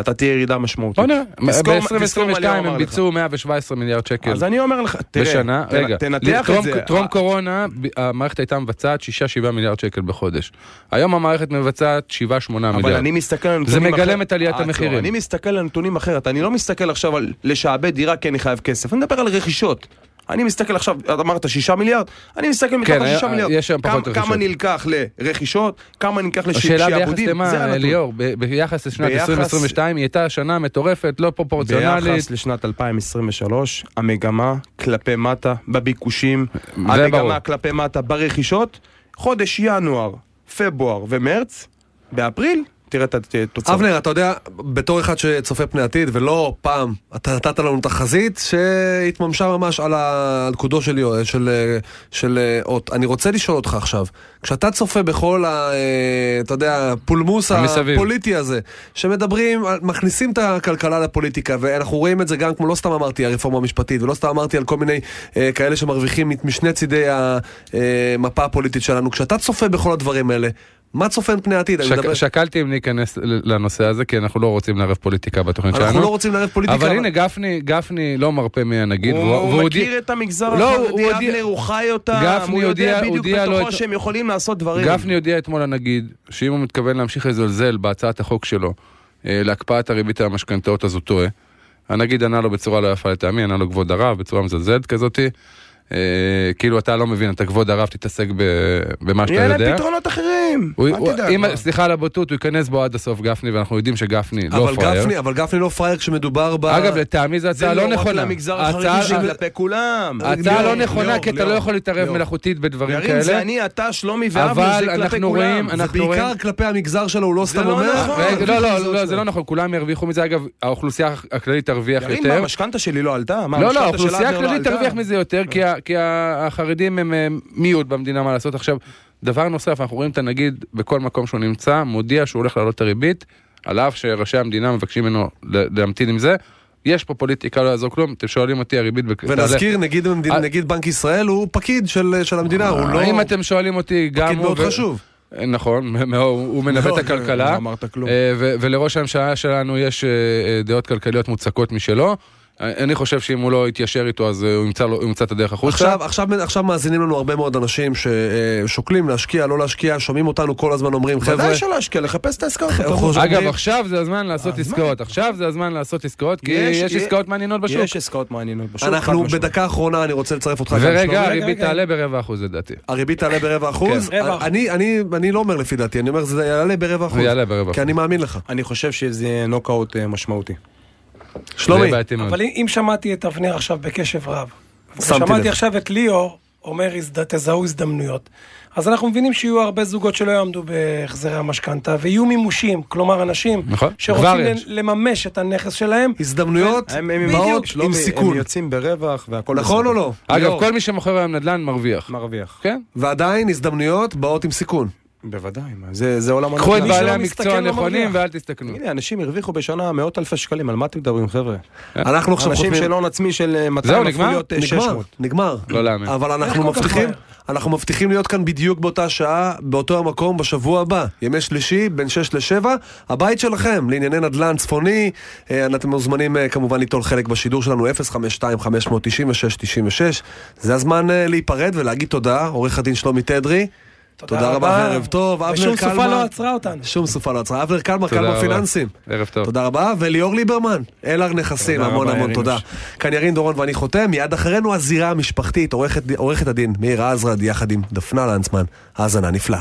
Speaker 3: אתה תהיה ירידה משמעותית.
Speaker 4: בוא נראה,
Speaker 3: תזכור מה- תזכור מה
Speaker 4: אה, ב-2022
Speaker 3: ליאור אמר
Speaker 4: הם
Speaker 3: לך.
Speaker 4: ביצעו 117 מיליארד שקל.
Speaker 3: אז אני אומר לך, תראה,
Speaker 4: בשנה,
Speaker 3: תנ-
Speaker 4: רגע,
Speaker 3: תנתח את
Speaker 4: טרום-
Speaker 3: זה.
Speaker 4: טרום קורונה ב- המערכת הייתה מבצעת 6-7 מיליארד שקל בחודש. היום המערכת מבצעת 7-8 מיליארד.
Speaker 3: אבל אני מסתכל על נתונים
Speaker 4: זה מגלם
Speaker 3: אחר-
Speaker 4: את עליית
Speaker 3: אה,
Speaker 4: המחירים.
Speaker 3: לא, אני מסתכל על נתונים אחרת, אני לא מסתכל עכשיו על לשעבד דירה כי אני חייב כסף, אני מדבר על רכישות. אני מסתכל עכשיו, את אמרת שישה מיליארד? אני מסתל מתוך
Speaker 4: כן,
Speaker 3: השישה
Speaker 4: היה-
Speaker 3: מיליארד.
Speaker 4: יש שם
Speaker 3: כמה-
Speaker 4: פחות רכישות.
Speaker 3: כמה נלקח לרכישות, כמה נלקח לשעבודים,
Speaker 4: השאלה ביחס
Speaker 3: זה
Speaker 4: למה,
Speaker 3: הנתון.
Speaker 4: ליאור, ב- ביחס לשנת
Speaker 3: ביחס-
Speaker 4: 2022 היא הייתה שנה מטורפת, לא פרופורציונלית.
Speaker 3: ביחס לשנת 2023, המגמה כלפי מטה בביקושים,
Speaker 4: זה
Speaker 3: המגמה
Speaker 4: ברור.
Speaker 3: כלפי מטה ברכישות, חודש ינואר, פברואר ומרץ, באפריל תראה את התוצאות.
Speaker 2: אבנר, אתה יודע, בתור אחד שצופה פני עתיד, ולא פעם, אתה נתת לנו תחזית שהתממשה ממש על ה- על קודו של, יו- של, אה, של אה, אות. אני רוצה לשאול אותך עכשיו, כשאתה צופה בכל ה... אה, אתה יודע, פולמוס
Speaker 4: המסביב.
Speaker 2: הפוליטי הזה, שמדברים, על- מכניסים את הכלכלה לפוליטיקה, ואנחנו רואים את זה גם, כמו לא סתם אמרתי, הרפורמה המשפטית, ולא סתם אמרתי על כל מיני אה, כאלה שמרוויחים מת- משני צידי המפה הפוליטית שלנו, כשאתה צופה בכל הדברים האלה, מה צופן פני עתיד? אני מדבר-
Speaker 4: שק, שקלתי אם להיכנס ל- לנושא הזה, כי אנחנו לא רוצים לערב פוליטיקה בתוכנית שלנו.
Speaker 2: אנחנו לא רוצים לערב פוליטיקה.
Speaker 4: אבל הנה, גפני, גפני לא מרפה מהנגיד.
Speaker 3: הוא,
Speaker 4: והוא- והוא
Speaker 3: הוא מכיר
Speaker 4: הודיע-
Speaker 3: את המגזר
Speaker 4: לא,
Speaker 3: החרדי,
Speaker 4: הוא הודיע-
Speaker 3: אבנר, הוא חי אותם,
Speaker 4: גפני
Speaker 3: הוא יודע
Speaker 4: הודיע-
Speaker 3: בדיוק
Speaker 4: הודיע לו
Speaker 3: בתוכו
Speaker 4: את-
Speaker 3: שהם יכולים לעשות דברים.
Speaker 4: גפני הודיע אתמול לנגיד, שאם הוא מתכוון להמשיך לזלזל בהצעת החוק שלו אה, להקפאת הריבית על המשכנתאות, אז הוא טועה. הנגיד ענה לו בצורה לא יפה לטעמי, ענה לו כבוד הרב, בצורה מזלזלת כזאתי. אה, כאילו אתה לא מבין, אתה כבוד הרב, תתעסק ב- במה שאתה
Speaker 3: יהיה
Speaker 4: יודע.
Speaker 3: להם פתרונות אחרים,
Speaker 4: הוא-
Speaker 3: אל
Speaker 4: הוא-
Speaker 3: תדאג.
Speaker 4: אם- סליחה על הבוטות, הוא ייכנס בו עד הסוף גפני, ואנחנו יודעים שגפני לא
Speaker 2: אבל
Speaker 4: פראייר.
Speaker 2: גפני, אבל גפני לא פראייר כשמדובר ב...
Speaker 4: אגב, לטעמי זו הצעה לא נכונה.
Speaker 3: זה לא רק למגזר
Speaker 4: ההצעה-
Speaker 3: החרדי, זה כלפי כולם.
Speaker 4: ההצעה
Speaker 2: ליאור,
Speaker 4: לא נכונה,
Speaker 2: ליאור,
Speaker 4: כי אתה
Speaker 2: ליאור,
Speaker 4: לא יכול להתערב
Speaker 2: ליאור.
Speaker 4: מלאכותית בדברים
Speaker 3: ירין, זה
Speaker 4: כאלה.
Speaker 3: אני, אתה, שלומי ואבנר,
Speaker 4: אבל
Speaker 3: זה כלפי
Speaker 4: אנחנו רואים,
Speaker 3: כולם.
Speaker 2: זה
Speaker 4: אנחנו רואים...
Speaker 2: בעיקר כלפי המגזר שלו, הוא לא סתם
Speaker 3: לא
Speaker 2: אומר.
Speaker 3: נכון.
Speaker 4: רגע, לא,
Speaker 2: הרוויחו
Speaker 4: לא,
Speaker 2: מזה
Speaker 4: לא,
Speaker 2: עוד
Speaker 4: זה לא נכון, כולם ירוויחו מזה, אגב, האוכלוסייה הכללית תרוויח
Speaker 3: ירין, מה,
Speaker 4: יותר.
Speaker 3: המשכנתה שלי לא עלתה? מה,
Speaker 4: לא, לא,
Speaker 3: המשכנתה של
Speaker 4: האוכלוסייה
Speaker 3: אבנר לא
Speaker 4: הכללית
Speaker 3: עלתה?
Speaker 4: תרוויח מזה יותר, כי ה- כי ה- החרדים הם אה, מיעוט במדינה, מה לעשות. עכשיו, דבר נוסף, אנחנו רואים את הנגיד בכל מקום שהוא נמצא, מודיע שהוא הולך להעלות את הריבית, על אף שראשי המדינה מבקשים ממנו ל- להמתין עם זה. יש פה פוליטיקה, לא יעזור כלום, אתם שואלים אותי, הריבית... בק-
Speaker 2: ונזכיר, נגיד המדינה-
Speaker 4: אה.
Speaker 2: נגיד בנק ישראל הוא פקיד של של המדינה, הוא לא...
Speaker 4: תעלה. אם אתם שואלים אותי, גם הוא...
Speaker 2: פקיד מאוד
Speaker 4: ו-
Speaker 2: חשוב.
Speaker 4: נכון, מאוד, הוא מנווט את הכלכלה.
Speaker 3: לא אמרת כלום.
Speaker 4: אה, ו- ולראש הממשלה שלנו יש אה, אה, דעות כלכליות מוצקות משלו. אה, אני חושב שאם הוא לא יתיישר איתו, אז אה, הוא ימצא לו- הוא ימצא את הדרך החוצה.
Speaker 2: עכשיו, עכשיו, עכשיו מאזינים לנו הרבה מאוד אנשים ששוקלים להשקיע, לא להשקיע, שומעים אותנו כל הזמן אומרים, חבר'ה,
Speaker 3: ודאי שלא להשקיע, לחפש את
Speaker 4: אה,
Speaker 3: העסקאות.
Speaker 2: אנחנו
Speaker 4: אגב,
Speaker 2: שומעים-
Speaker 4: עכשיו זה הזמן לעשות עסקאות. עכשיו זה הזמן לעשות עסקאות, כי
Speaker 3: יש-
Speaker 4: אוקיי, יש
Speaker 3: יש-
Speaker 4: עסקאות מעניינות בשוק.
Speaker 3: יש עסקאות מעניינות בשוק.
Speaker 2: אנחנו
Speaker 3: חד משמעית.
Speaker 2: בדקה האחרונה, אני רוצה לצרף אותך. גם,
Speaker 4: ורגע, כן.
Speaker 2: שלומי.
Speaker 4: הריבית
Speaker 5: רגע, רגע.
Speaker 4: תעלה ברבע אחוז לדעתי.
Speaker 2: הריבית תעלה ברבע אחוז?
Speaker 5: רבע אחוז.
Speaker 2: אני- אני- אני לא אומר לפי דעתי, אני אומר זה יעלה ברבע אחוז.
Speaker 4: יעלה ברבע
Speaker 2: כי
Speaker 4: אחוז.
Speaker 2: אני מאמין לך.
Speaker 3: אני חושב שזה יהיה נוקאוט אה, משמעותי.
Speaker 4: זה
Speaker 2: שלומי,
Speaker 4: בעייתי מאוד.
Speaker 5: אבל אם אם שמעתי את אבנר עכשיו בקשב רב,
Speaker 2: שמתי לב.
Speaker 5: ושמעתי עכשיו את ליאור אומר "הזד- תזהו הזדמנויות, אז אנחנו מבינים שיהיו הרבה זוגות שלא יעמדו בהחזרי המשכנתה, ויהיו מימושים, כלומר אנשים
Speaker 4: נכון, כבר
Speaker 5: שרוצים
Speaker 4: יש.
Speaker 5: ל- לממש את הנכס שלהם,
Speaker 2: הזדמנויות
Speaker 3: הם- הם-
Speaker 2: באות
Speaker 3: שלומי,
Speaker 2: עם סיכון.
Speaker 3: הם יוצאים ברווח והכל
Speaker 2: נכון או
Speaker 3: בסדר.
Speaker 2: לא?
Speaker 4: אגב,
Speaker 2: ליאור.
Speaker 4: כל מי שמוכר היום נדל"ן מרוויח.
Speaker 3: מרוויח.
Speaker 4: כן?
Speaker 2: ועדיין הזדמנויות באות עם סיכון.
Speaker 3: בוודאי, מה, זה זה עולם...
Speaker 4: קחו את
Speaker 3: הנדל"ן.
Speaker 4: בעלי
Speaker 5: שלא
Speaker 4: המקצוע
Speaker 5: מסתכל לא
Speaker 4: הנכונים
Speaker 5: מרוויח.
Speaker 4: ואל תסתכנו.
Speaker 3: תגידי, אנשים הרוויחו בשנה מאות אלפי שקלים, על מה אתם מדברים, חבר'ה?
Speaker 2: אנחנו עכשיו
Speaker 3: אה, אנשים
Speaker 2: חותמים...
Speaker 3: של הון עצמי של אה, 200 הפכו
Speaker 4: אה. נגמר?
Speaker 3: להיות אה,
Speaker 2: נגמר,
Speaker 3: 600.
Speaker 2: נגמר.
Speaker 4: לא להאמין.
Speaker 2: אבל אנחנו
Speaker 5: איך כל כך
Speaker 2: מבטיחים,
Speaker 5: מהר?
Speaker 2: אנחנו מבטיחים להיות כאן בדיוק באותה שעה, באותו המקום, בשבוע הבא. ימי שלישי, בין 6 ל-7, הבית שלכם, לענייני נדל"ן צפוני. אה, אתם מוזמנים אה, כמובן ליטול חלק בשידור שלנו, 052-596-96. זה הזמן אה, להיפרד ולהגיד תודה, עורך הדין שלומי תדרי. תודה רבה, ערב טוב, אבנר קלמן.
Speaker 5: ושום סופה לא עצרה אותנו.
Speaker 2: שום סופה לא עצרה. אבנר קלמר,
Speaker 4: תודה
Speaker 2: קלמר
Speaker 4: רבה.
Speaker 2: פיננסים.
Speaker 4: ערב טוב.
Speaker 2: תודה רבה, וליאור ליברמן, אלהר נכסים,
Speaker 3: תודה
Speaker 2: המון
Speaker 3: רבה,
Speaker 2: המון
Speaker 3: ירין.
Speaker 2: תודה. כאן ירין דורון ואני חותם, מיד אחרינו הזירה המשפחתית, עורכת- עורכת הדין מירה עזרד יחד עם דפנה לנצמן, האזנה נפלאה.